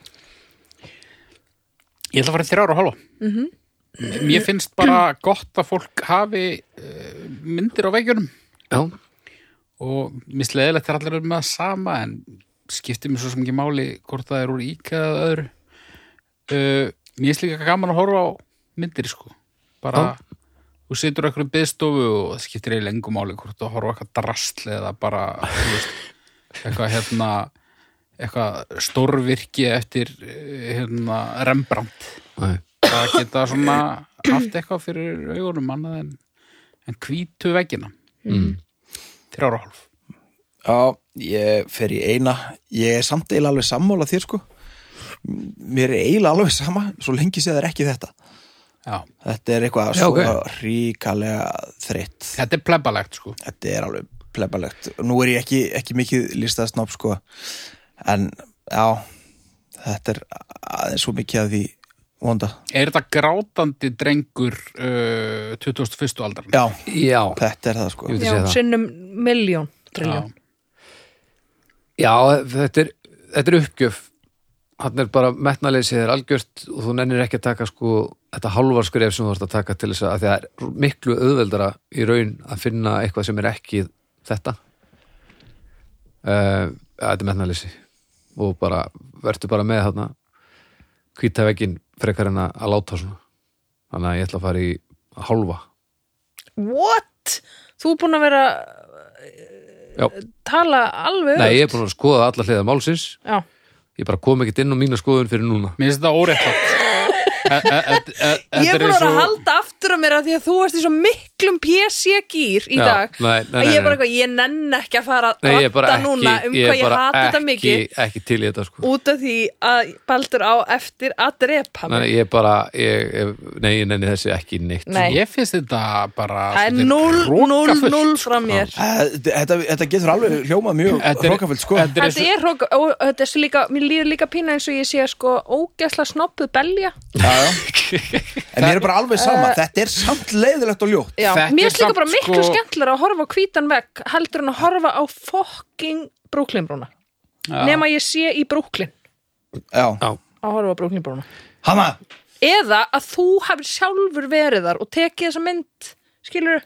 Ég ætla að fara í þrjára og halva Mér finnst bara gott að fólk hafi uh, myndir á veggjunum Já, og misleðilegt er allir eru með það sama en skiptir mér svo sem ekki máli hvort það er úr íka eða öðru uh, Mér finnst líka gaman að horfa á myndir sko bara, þú situr okkur í byðstofu og það skiptir eiginlega engu máli hvort þú horfa á eitthvað drasl eða bara þú veist, eitthvað hérna eitthvað stórvirki eftir eh, hérna Rembrandt nei, það geta svona haft eitthvað fyrir augunum annað en, en hvítu veggina mm. þrjára og hálf já, ég fer í eina ég er samt eiginlega alveg sammála þér sko mér er eiginlega alveg sama svo lengi séð er ekki þetta Já. þetta er eitthvað Já, svo ok. ríkalega þreytt þetta er plebalegt sko þetta er alveg plebalegt nú er ég ekki, ekki mikið listasnopp sko en já þetta er aðeins svo mikið að því vonda er þetta grátandi drengur uh, 2001. aldar já, Já, þetta er það sko Ég veit- Þú já segir það. sinnum miljón trilljón. já, þetta er, þetta er uppgjöf Hann er bara metnaleysið er algjört og þú nennir ekki að taka sko þetta hálfarskref sem þú ert að taka til þess að, að því að það er miklu auðveldara í raun að finna eitthvað sem er ekki þetta uh, Þetta er metnaleysi og bara, verður bara með þarna hvíta veggin frekar en að að láta svona þannig að ég ætla að fara í hálfa what? þú er búin að vera Já. Eh, tala alveg Nei, öfugt. ég er búin að skoða alla hliða málsins já, ég bara kom ekkert inn á mína skoðun fyrir núna mér finnst þetta óréttlátt E- e- e- e- Ég þetta er er búin að eins vera að og- halda aftur á mér að því að þú varst í svo miklu miklum PC-gýr í Já, dag nei, nei, að ég nei, er bara nei. eitthvað, ég nenn ekki að fara Nei, að ég er bara ratta ekki, núna um hvað ég er ég bara hata þetta ekki, mikið ekki til í þetta sko. út af því að Baldur á eftir að drepa Nei, mig ég er bara, ég, ég- nei, ég nenni þessi ekki neitt Nei. Ég finnst þetta bara það er svolítið 0, 0, hrokafullt, 0 sko. frá mér Þetta, þetta, þetta getur alveg hljómað mjög Þetta er- hrókaföld sko þetta er eins Þetta og- er hróka, og þetta er svo líka, mér líður líka pína eins og ég sé sko ógæsla snoppuð belja. Já, já. En mér er bara alveg sama, þetta er samt leiðilegt og ljótt Já, Þetta mér er er líka samt bara miklu sko- skemmtilega að horfa á hvítan vekk heldur en að horfa á fokking brúklinbrúna. Nema ég sé í brúklin Já, að horfa á brúklinbrúna. hana, Eða að þú hafið sjálfur verið þar og tekið þessa mynd, skilur,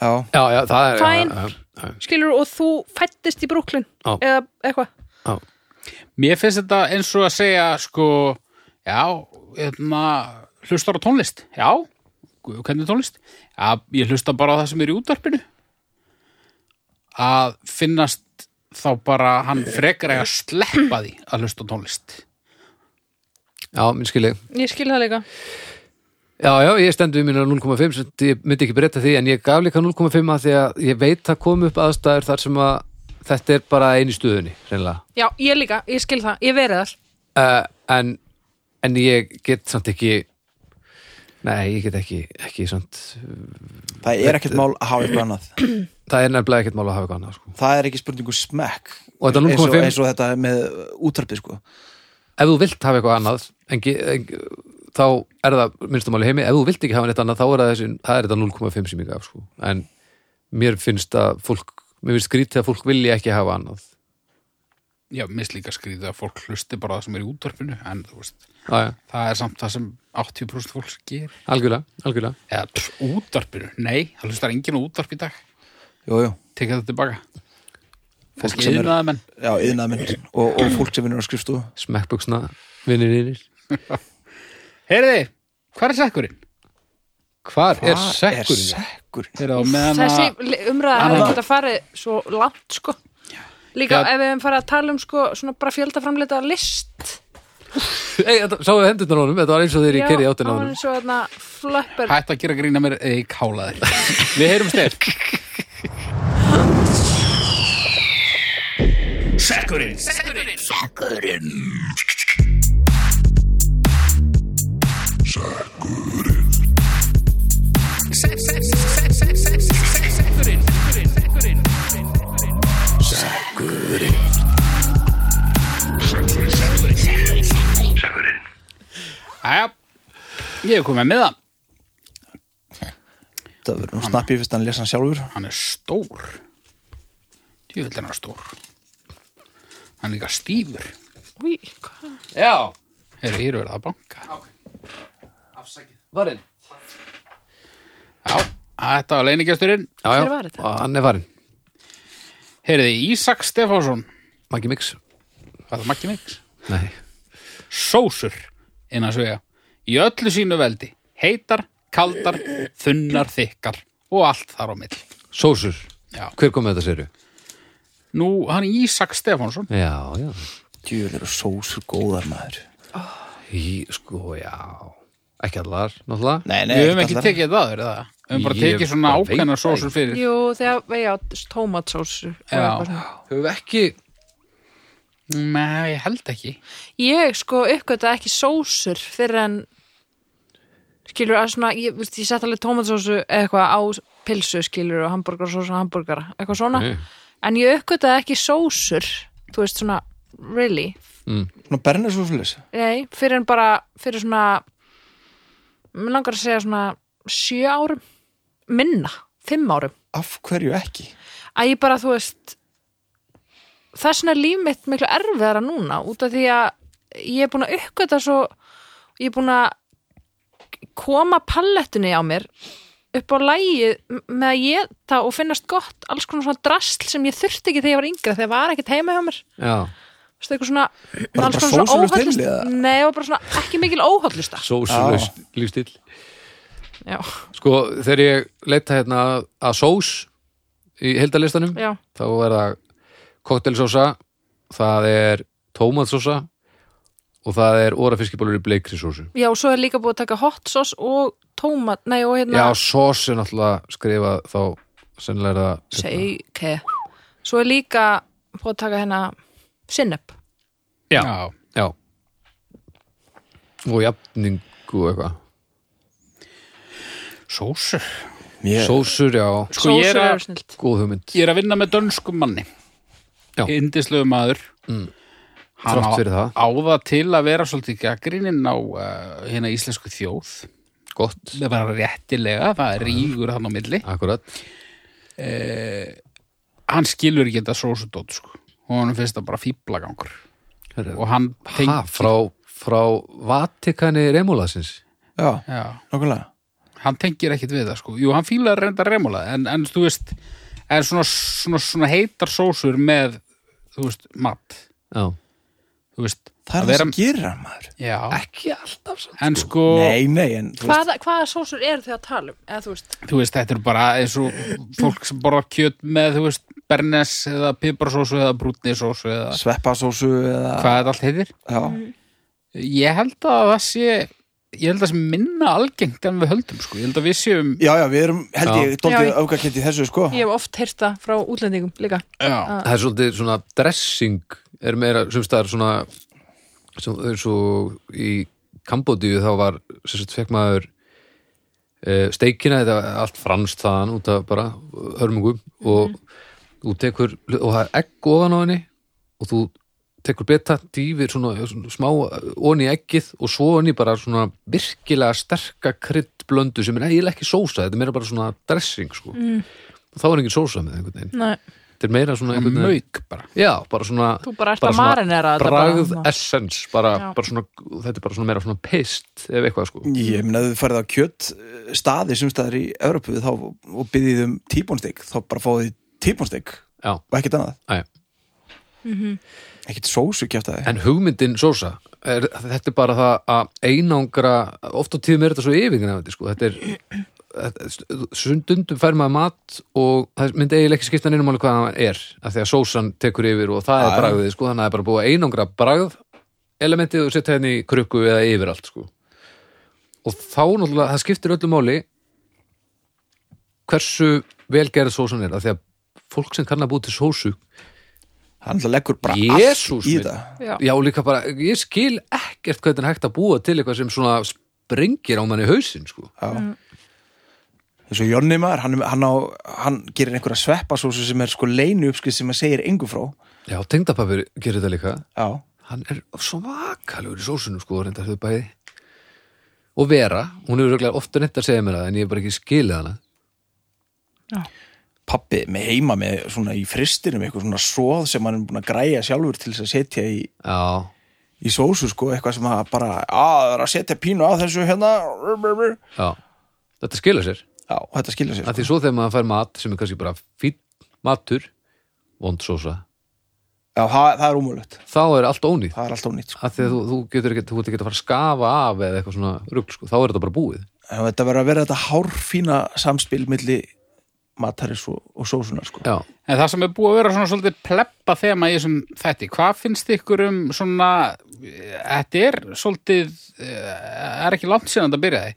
já Já, já, það er Fine. já, já, já. skilur og þú fættist í brúklin Já. eða eitthvað. Mér finnst þetta eins og að segja sko, já, hérna, hlustar á tónlist, já, hvernig tónlist? Já, ég hlusta bara á það sem er í útvarpinu. Að finnast þá bara hann frekar eiga að sleppa því að hlusta á tónlist. Já, minn skilji Ég skil það líka. Já, já, ég stendu við mínar 0,5 sem ég myndi ekki breyta því en ég gaf líka 0,5 að því að ég veit að kom upp aðstæður þar sem að þetta er bara einu stuðunni, reynilega Já, ég líka, ég skil það, ég verið þar. uh, en, en ég get samt ekki Nei, ég get ekki, ekki samt Það er ekkert mál að hafa eitthvað annað Það er nefnilega ekkert mál að hafa eitthvað annað sko. Það er ekki spurningu smekk Og þetta eins, og, 0,5? eins og þetta með útarpið sko Ef þú vilt hafa eitthvað annað en, ge- en, þá er það minnstumáli heimi, ef þú vilt ekki hafa neitt annað þá er það, þessi, það er þetta 0,5 sem ég gaf sko. en mér finnst að fólk mér finnst skrítið að fólk vilja ekki hafa annað Já, mist líka skrýðið að fólk hlusti bara á það sem er í útvarpinu, en þú veist, Já, já, það er samt það sem 80% fólks gerir. algjörlega, algjörlega Eða, pff, útvarpinu, nei, það hlustar enginn á útvarp í dag, Jú, jú, tekja þetta tilbaka. Fólk Fólk sem er- sem er... já, yðnað minn og, og fólk sem vinnur á skrifstofu smekkbuksna vinninir Heyriði, hvað er sekkurinn? Hvar Hvað er er sekkurinn? sekkurinn? Þeirra á meðan að þessi umræða hefði geta farið svo langt sko líka Já. ef við hefum farið að tala um sko svona bara fjöldaframleita list Ei, þetta- sáuðu hendurnar á honum, þetta var eins og þeir í kerið áttina á honum eins og þarna flöppur hætt að gera grína mér eða ég kála þér. Við heyrum stef. Æja, ég hef komið með það. Það verður nú snappið fyrst hann lesa hann sjálfur Hann er stór. Djúvill er hann stór. Hann er líka stífur. Új, hvað? Já. Heyrðu, hér verður það að banka. Ok. Varinn? Já, þetta var leinigesturinn. Já, já, Hver var þetta? og hann er varinn, Heyrðu, Ísak Stefánsson. Maggi Mix Var það makki miks? Nei, Sósur, innan svega. Í öllu sínu veldi. Heitar, kaldar, þunnar, þykkar og allt þar á mill. sósur, Já. hver kom með þetta séru? Nú, hann er Ísak Stefánsson. Já, já Djúvel eru sósur góðar maður Í, sko, já Ekki allar, náttúrulega Nei, nei, Við höfum ekkert ekki allar. tekið þetta aður, eða? Við höfum bara Ég tekið svona bara veit ákveðna það sósur fyrir. jú þegar já, tómatsós og eitthvað svona. Höfum við ekki Nei, ég held ekki. ég sko uppgöta ekki sósur fyrir en skilur að svona ég, veist, ég sett alveg tómatsósu eða eitthvað á pilsu skilur og hambúrgarsósu og hambúrgara eitthvað svona Ok. en ég uppgöta ekki sósur þú veist svona really Svona bernir svo Nei, fyrir en bara fyrir svona mér langar að segja svona sjö árum minna, fimm árum Af hverju ekki? að ég bara, þú veist þessna líf mitt miklu erfiðara núna út af því að ég er búin að uppgöta svo ég er búin að koma pallettunni á mér upp á lægið með að ég þá og finnast gott alls konar svona drasl sem ég þurfti ekki þegar ég var yngra þegar var ekkert heima hjá mér Já, Þú veist, eitthvað svona, Var það alls bara konar svona sósulaust óhollust- heimili, eða? Nei, það var bara svona ekki mikil óhollista sósulaus lífstíl Já, Sko, þegar ég leita hérna að sós í heldalistanum já, þá er það koktelsósa það er tómatsósa og það er órafiskibólur í bleikri sósu Já, og svo er líka búið að taka hot sauce og tómat, nei og hérna Já, sós er náttúrulega skrifa þá sennilega er það hérna. Hérna. Seike Svo er líka búið að taka hérna sinneb Já, Já Og jafningu og eitthvað sósur Mér- Sósur, já, Sko, ég er að- eru snilt góð hugmynd Ég er að vinna með dönskum manni Já. Mm. Indislegu maður Hann Þrátt á- fyrir það. Á það til að vera svolítið gaggrininn á uh, hérna íslensku þjóð Gott, Það var réttilega, það er rígur hann á milli akkurat Hann skilur ekki þetta sósudótt sko og hann finnst það bara fíblagangur og hann Ha, frá, frá Vatikani Remulasins Já, já, nákvæmlega hann tengir ekkit við það sko Jú, hann fílar reynda remula en, en þú veist, en svona, svona, svona heitar sósur með þú veist, mat Já þú veist, Það er að það vera- sem gera maður Já, Ekki alltaf svo en sko Nei, nei, en þú veist Hvaða, hvaða sósur eru þið að tala um? Eða þú veist, þú veist, þetta er bara eins og fólk sem borðar kjöt með, þú veist, bernes eða piparsósu eða brúnisósu eða sveppasósu eða hvað þetta allt heitir. Já, Mm. Ég held að það sé, ég held að það sé minna algengt en við höldum, sko. Ég held að við séum, já, já, við erum, held ég, Já, dóttið ég- öfgakent í þessu, sko ég hef oft heyrt það frá útlendingum líka já, Það er svolítið svona dressing er meira, sem staðar svona sem, eins og í Kambodíu þá var sem sagt fekk maður e, steikina, þetta var allt franskt þaðan út af bara hörmungum og þú tekur og það er egg ofan á henni og þú tekur beta, dýfir svona, svona smá onni eggið og svo onni bara svona virkilega sterka kryddblöndu sem er eiginlega ekki sósa, þetta er meira bara svona dressing sko. mm. og þá er engin sósa með einhvern veginn Nei, þetta er meira svona einhvern veginn mög bara. Já, bara svona Þú bara ert bara að svona marinera þetta bara. Bragð essence, bara, Já. bara svona Þetta er bara svona meira svona pist Ef eitthvað sko Ég meina, ef þið farið á kjött eh, staði sem staðar í Evropu þá, og byggðið um tíbónstik þá bara fáið þið tíbónstik Já, og ekkert annað, aðja ekkert sósu kjöft að En hugmyndin sósa er, Þetta er bara það að einangra Oft á tíðum er þetta svo yfirgnæfandi sko Þetta er þetta- stundum fær maður mat og það myndi eiginlega ekki skipta neinum alveg hvað hann er af því að sósan tekur yfir og það Já, er já. bragðið sko, þannig að það er bara búið að einangra bragð elementið og setja henni í krukku eða yfir allt sko og þá náttúrulega, það skiptir öllu máli hversu velgerð sósan er, af því að fólk sem kann að búið til sósu Hann alltaf leggur bara Jesús allt í minn. þetta já, Já, líka bara, ég skil ekkert hvernig er hægt að búa til eitthvað sem svona springir á manni hausinn, sko. eins og Jonni maður, hann, hann, á, hann gerir einhverja sveppasósu sem er sko leinu uppskrið sem að segir engu frá Já, tengdapapir gerir þetta líka. Já, Hann er svakalegur í sósunum, sko, reyndar þau bæði. Og Vera, hún hefur reglega ofta neitt að segja mér það, en ég hef bara ekki skilið hana. pappi með heima með svona í fristinum eitthvað svona svoð sem hann er búin að græja sjálfur til þess að setja í, Já, í sósu sko, eitthvað sem að bara að það er að setja pínu á þessu hérna rr, rr, rr. já. Þetta skilur sér. Já, og þetta skilja sér Af sko. því svo þegar maður fær mat, sem er kannski bara fínn matur, vond sósa, Já, það, það er umöðlegt, þá er allt ónýtt. það er alltaf nýtt sko. Af því að þú, þú getur ekki, þú getur ekki að fara að skafa af eða eitthvað svona rugl, sko. Þá er þetta bara búið. En þetta verður að vera þetta hárfína samspil milli matarins og, og sósunar sko. Já. En það sem er búið að vera svona svolítið pleppa þema í þessum þætti, hvað finnst ykkur um svona, þetta er svolítið, eh, er ekki langt síðan þetta byrjaði,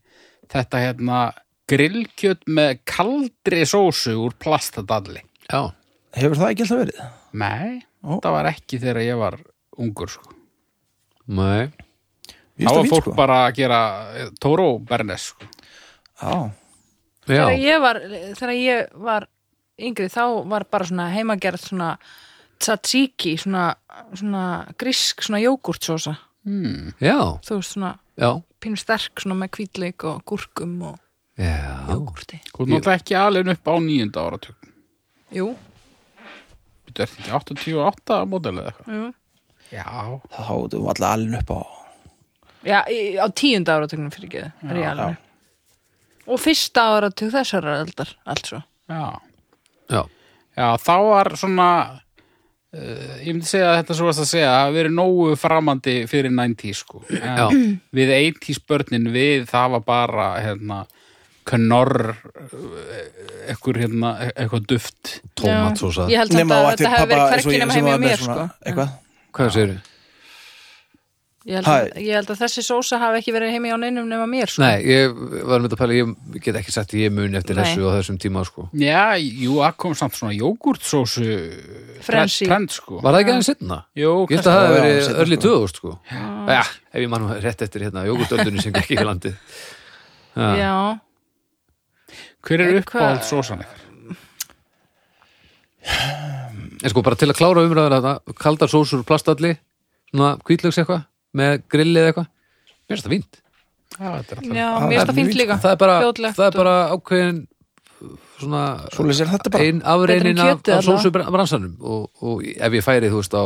þetta hérna grillkjöt með kaldri sósu úr plastadalli. Já. Hefur það ekki alltaf verið? Nei, Ó. það var ekki þegar ég var ungur sko. Nei. Ég Þá veist var það fínt fólk sko. bara að gera eh, Toro Bernes sko. Já, Já. Þegar ég var, þegar ég var yngri þá var bara svona heimagerð svona tzatziki, svona, svona grísk, svona jógurtsósa Já. þú veist svona Já. pínu sterk svona með kvítleik og gúrkum og Já. jógurti Hún náttúrulega ekki alveg upp á nýjunda áratug. Jú, Þú ert ekki 88 mótel eða eitthvað. jú. Já, þá hátum við alla alveg upp á Já, í, á tíunda áratugnum fyrir ekki er ég alveg Og fyrsta áratug þessara eldar, allt svo já. Já. Já, þá var svona uh, ég myndi segja að þetta svo varst að segja að við erum nógu framandi fyrir 90s sko. En Já. Við 80s börnin við það var bara hérna knorr eh, ekkur hérna, eitthvað duft Tómatsósa. Ég held samt Nema að á ætti þetta hefur verið eins og hverki ég- nema sem heim í var með mér svona sko. Eitthvað Hvað sér? Ég held, að, Hæ. ég held að þessi sósa hafi ekki verið heimi á neinum nema mér sko. Nei, ég var með þetta að pæla, ég get ekki sagt ég mun eftir Nei. þessu og þessum tíma sko. Já, jú, að kom samt svona jógurtsósu Frenzy. trend, sko. Var það ekki aðeins setna? Jú, Ég held að það Já, hafi seinna, verið sko. örli 2000 sko. Já, ef ég mann rétt eftir hérna, jógurtöldunni sem ekki í landið. Já. Já, Hver er Hva- uppáhald sósan ykkur? En sko, bara til að klára umræður þetta, kaldar sósur úr plastalli, svona kvítlöks eitthvað, með grilli eða eitthvað. Mér finnst það fínt. Já, þetta er alltaf. já mér er er það fínt mjög- líka Það er bara, Fljótlegt það er og- bara ákveðin svona Svoleiðis er þetta bara. ein afreinin Betra en af, kjötið af allavega. sósubransanum og, og ef ég færi þú veist á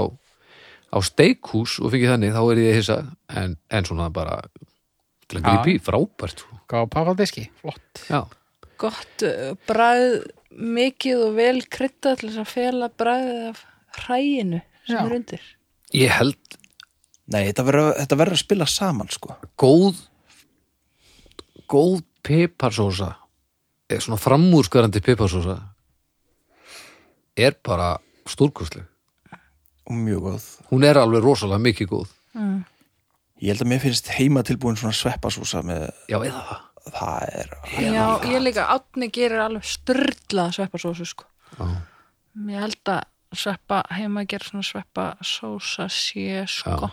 á steikhús og fengi þannig þá er ég hissa en, en svona bara til að Já. gripi, frábært sko. Gáðu pappadiski, flott. Já, Gott uh, bragð mikið og vel krytta til þess að fela bragðið af hræinu sem Já. er undir ég held Nei, þetta verður þetta verður að spila saman sko góð góð piparsósa eða svona framúrskarandi piparsósa er bara stúrkustleg og mjög góð. hún er alveg rosalega mikið góð Ég held að mér finnst heima tilbúin svona sveppasúsa með já, eða það það er Já, ég líka átni gerir alveg styrlað sveppasósu sko Já. Ég held að sveppa heima að gera svona sveppasósa sé sko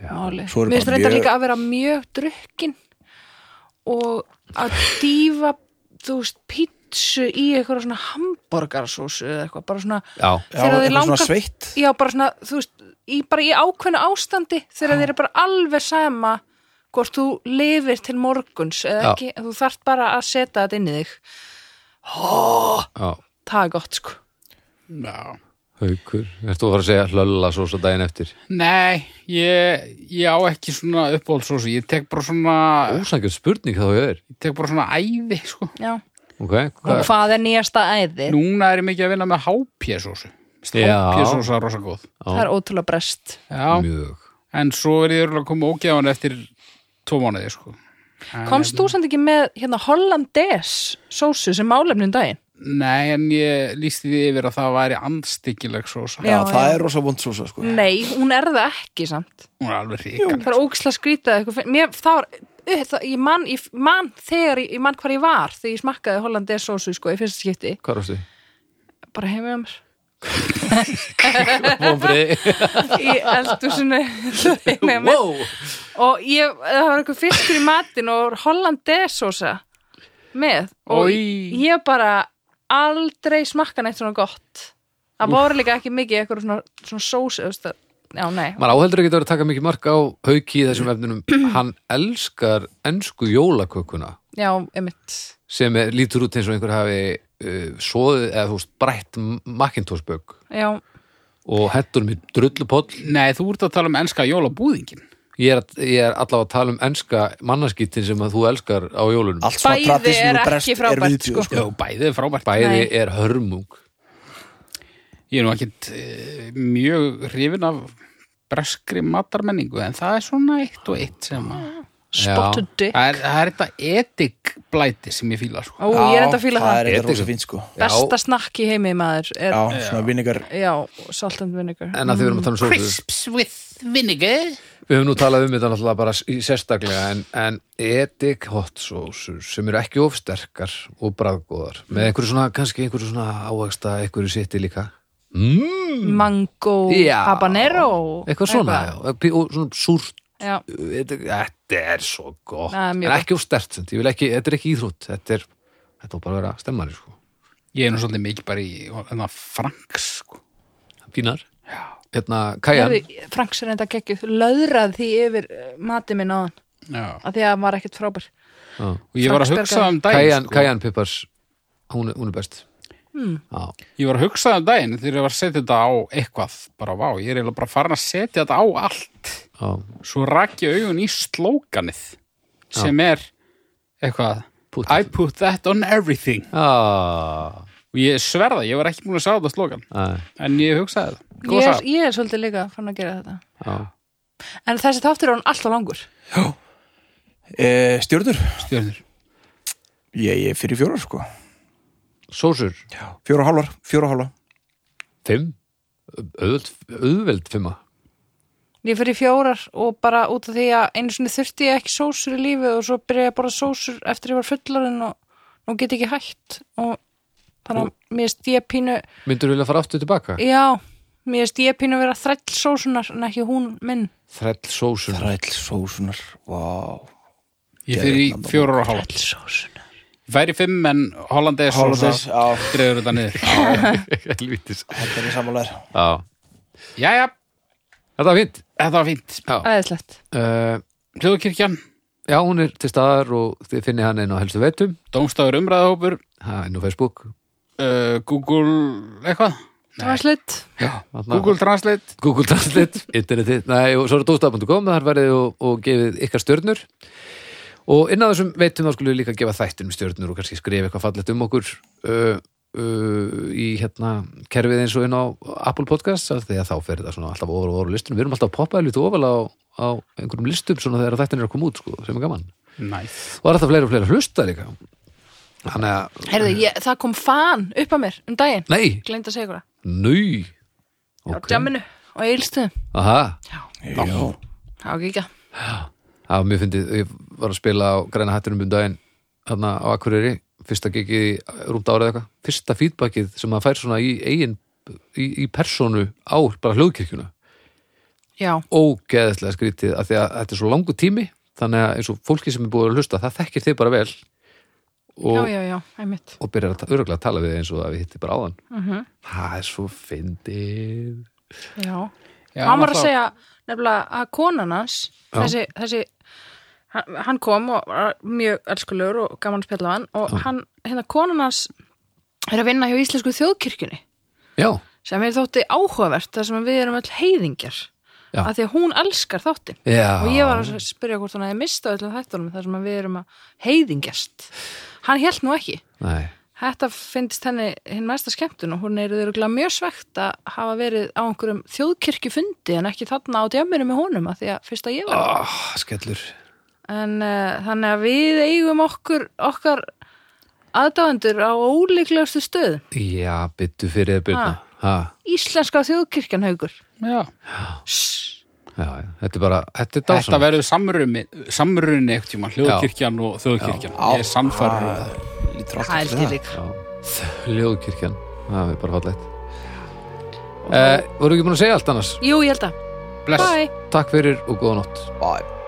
Máli Svo eru Mér finnst bara þetta mjög- líka að vera mjög drukkin og að dýfa þú veist pítsu í eitthvað svona hamborgarsósu eða eitthvað bara svona Já. þegar Já, þið eitthvað langar svona sveitt. já, bara svona, þú veist, í, bara í ákveðnu ástandi þegar þeir eru bara alveg sama hvort þú lifir til morguns eða Já. ekki, þú þarft bara að setja þetta inn í þig Já. það er gott sko Já. Haukur, ertu að fara að segja hlölla sósa daginn eftir? Nei, ég, ég á ekki svona uppáhald sósu. Ég tek bara svona, Ósækjöld spurning þá ég er ég tek bara svona æði, sko. já. Ok, og hvað er nýjasta æði? Núna er ég mikið að vinna með hápjæsósu. Já. Hápjæsósa er rosa góð. það er ótrúlega brest Já, Mjög en svo er ég örugglega að koma ógjáðan eftir tvo mánuði, sko. En- komst þú samt ekki með hérna hollandes sósu sem málefnum daginn? Nei, en ég lísti því yfir að það væri anstíkileg sósa. Já, Já, það já. er rosa vond súsa sko nei, hún er það ekki samt Hún er alveg ríkar. það er ógislega skrítið eitthvað fyrir- mér, það var, uh, það, ég, man, ég man þegar ég, ég man hvar ég var þegar ég smakkaði hollandes sósu sko, í fyrsta skipti Hvað er það? bara heimið á mér Vombrið í eldúsinu wow. og ég, það var eitthvað fiskur í matinn og hollandesósa með og Oj. ég bara aldrei smakka neitt svona gott það voru líka ekki mikið eitthvað svona, svona sós eða, já, nei, Maður áheldur ekki að vera að taka mikið mark á Hauki í þessum efninum Hann elskar ensku jólakökuna já, emitt sem er, lítur út eins og einhver hafi uh, soðið eða þú veist brætt Macintoshbögg já, og hendur mér drullupoll Nei, þú ert að tala um enska jólabúðingin. ég er, ég er allavega að tala um enska mannaskýttin sem að þú elskar á jólunum Allt svona Bæði tradisjónu er ekki brest er frábært, viðbjóð, sko. Já, bæðið er frábært. Bæði Nei. er hörmung Ég er nú ekkit eh, mjög hrifin af breskri matarmenningu en það er svona eitt og eitt sem að spottu dick það er, það er þetta etikblæti sem ég fíla sko. ó, ég er enda að fíla það, er eitthvað rosa Edik. fínt sko besta snakk í heimið maður er, Já, svona vinningar já, saltand vinegar En að þið verum að tala um sósu Crisps with vinegar Við höfum nú talað um þetta náttúrulega bara í sérstaklega en, en edik hot sósur sem eru ekki ofsterkar og bragðgóðar með einhverju svona, kannski einhverju svona ávegsta, einhverju sitti líka mm, mango, Já. habanero eitthvað svona, já, pí- og svona súrt já, edik, þetta er svo gott Nei, mjög en ekki ofstert, samt, ég vil ekki, þetta er ekki íþrótt þetta er, þetta er bara að vera stemmari sko. Ég er nú svolítið mikið bara í enna, franks sko. fínar, hérna kajan Herði, Franks er enda geggjuð, löðrað því yfir eh, matið minn á hann Já. að því að hann var ekkert frábær og ég var að Franksbergar. hugsa um daginn kajan, sko. kajan pippars hún, er- hún er best mm. ég var að hugsa um daginn þegar ég var að setja þetta á eitthvað bara vá, ég er eiginlega bara farin að setja þetta á allt já, já, svo rak ég augun í slókanið sem er eitthvað Put I put that on everything ah, og ég sverða, ég var ekki múin að sá þetta slókan Nei. en ég hugsaði það ég Góð er, saga. ég er svolítið líka fann að gera þetta já en þessi þáttur er hann alltaf langur e, Stjörnur, Stjörnur. ég ég er fyrir fjórar sko Sósur, Fjóra hálfar, fjóra hálfa fimm Auðveld, auðveld fimma Ég fyrir fjórar og bara út af því að einu sinni þurfti ég ekki sósur í lífið og svo byrja ég að borða sósur eftir ég var fullarinn og nú get ég ekki hægt og þannig að mér stíða pínu Myndur vilja fara aftur tilbaka? já, mér stíða pínu að vera þræll sósunar en ekki hún minn Þræll sósun Þræll sósunar, vá Ég fyrir í fjórar og hálf sósunar Væri fimm en Hollandeis Hálfandis, á, og það dregur þetta niður Helvítis þetta er samanlegar Já. Jæja, Þetta var fint þetta var fínt Eh, Æðislegt uh, Hljóðkirkjan, Já, hún er til staðar og þið finni hann einn á helstu veitum Dómstafur umræðahópur ha, inn á Facebook uh, Google eitthvað Það var slitt Já, þarna- Google Translate Google Translate, internetið Nei, og svo er dóstaf.com, þar verðið og, og gefið ykkar stjörnur og inn að þessum veitum þá skulle við líka gefa þættunum stjörnur og kannski skrifa eitthvað fallegt um okkur uh, uh, í hérna kerfið eins og inn á Apple Podcasts af því að þá fer þetta svona alltaf ofar og ofar á listunum við erum alltaf að poppa eða lítið ofal á, á einhverjum listum svona þegar þættin er að koma út sko, sem er gaman Nice og það er alltaf fleira og fleira að hlusta líka þannig að, Herðu, ég, það kom fan upp að mér um daginn nei, Gleind að segja ykkur það nöy okay. á djamminu og eilstuðum aha, Já, Það var ekki Já, mér fyndið, ég var að spila á græna hættunum um daginn hérna á Akureyri, fyrsta gigið í rúmt árið eitthvað, fyrsta feedbackið sem maður fær svona í eigin í, í personu á bara hljóðkirkjuna Já, ógeðslega skrítið af því að þetta er svo langu tími þannig að eins og fólki sem er búið að hlusta það þekkir þið bara vel já, og, já, já, einmitt Mhm. og byrjar að öruglega að tala við þig eins og að við hittir bara áðan það er svo fyndið Já, Já, hann var að náttúrulega- segja nefnilega að konan hans Já. þessi, þessi hann- hann kom og var mjög elskulegur og gaman að spjalla við hann og hann, hérna konan hans er að vinna hjá Íslensku þjóðkirkjunni Já, sem er þótti áhugavert þar sem við erum öll heiðingjar Já. af því að hún elskar þáttin já og ég var að spyrja hvort hann hefði mistað öllum þættunum þar sem að við erum að heiðingjast hann held nú ekki Nei, Þetta finnst henni hinn mesta skemmtun og hún er örugglega mjög svegt að hafa verið á einhverjum þjóðkirkjufundi en ekki þarna á djáminu með honum að því að fyrst að ég var. oh, skellur En uh, þannig að við eigum okkur, okkar aðdáendur á ólíklegustu stöð. Já, byttu fyrir þér byrna Ha. Ha, Íslenska þjóðkirkjan haugur. Já. já, já, þetta er bara, þetta er Þetta dásan verður samruni, samruni ekkert tíma, hljóðkirkjan og þjóðkirkjan Ég er um samfæður það lítur alltaf Hældi lík. Ljóðkirkjan, það er bara fallegt eh, Voru ekki búin að segja allt annars? Jú, ég held að. Bless Bye. Takk fyrir og góða nótt Bye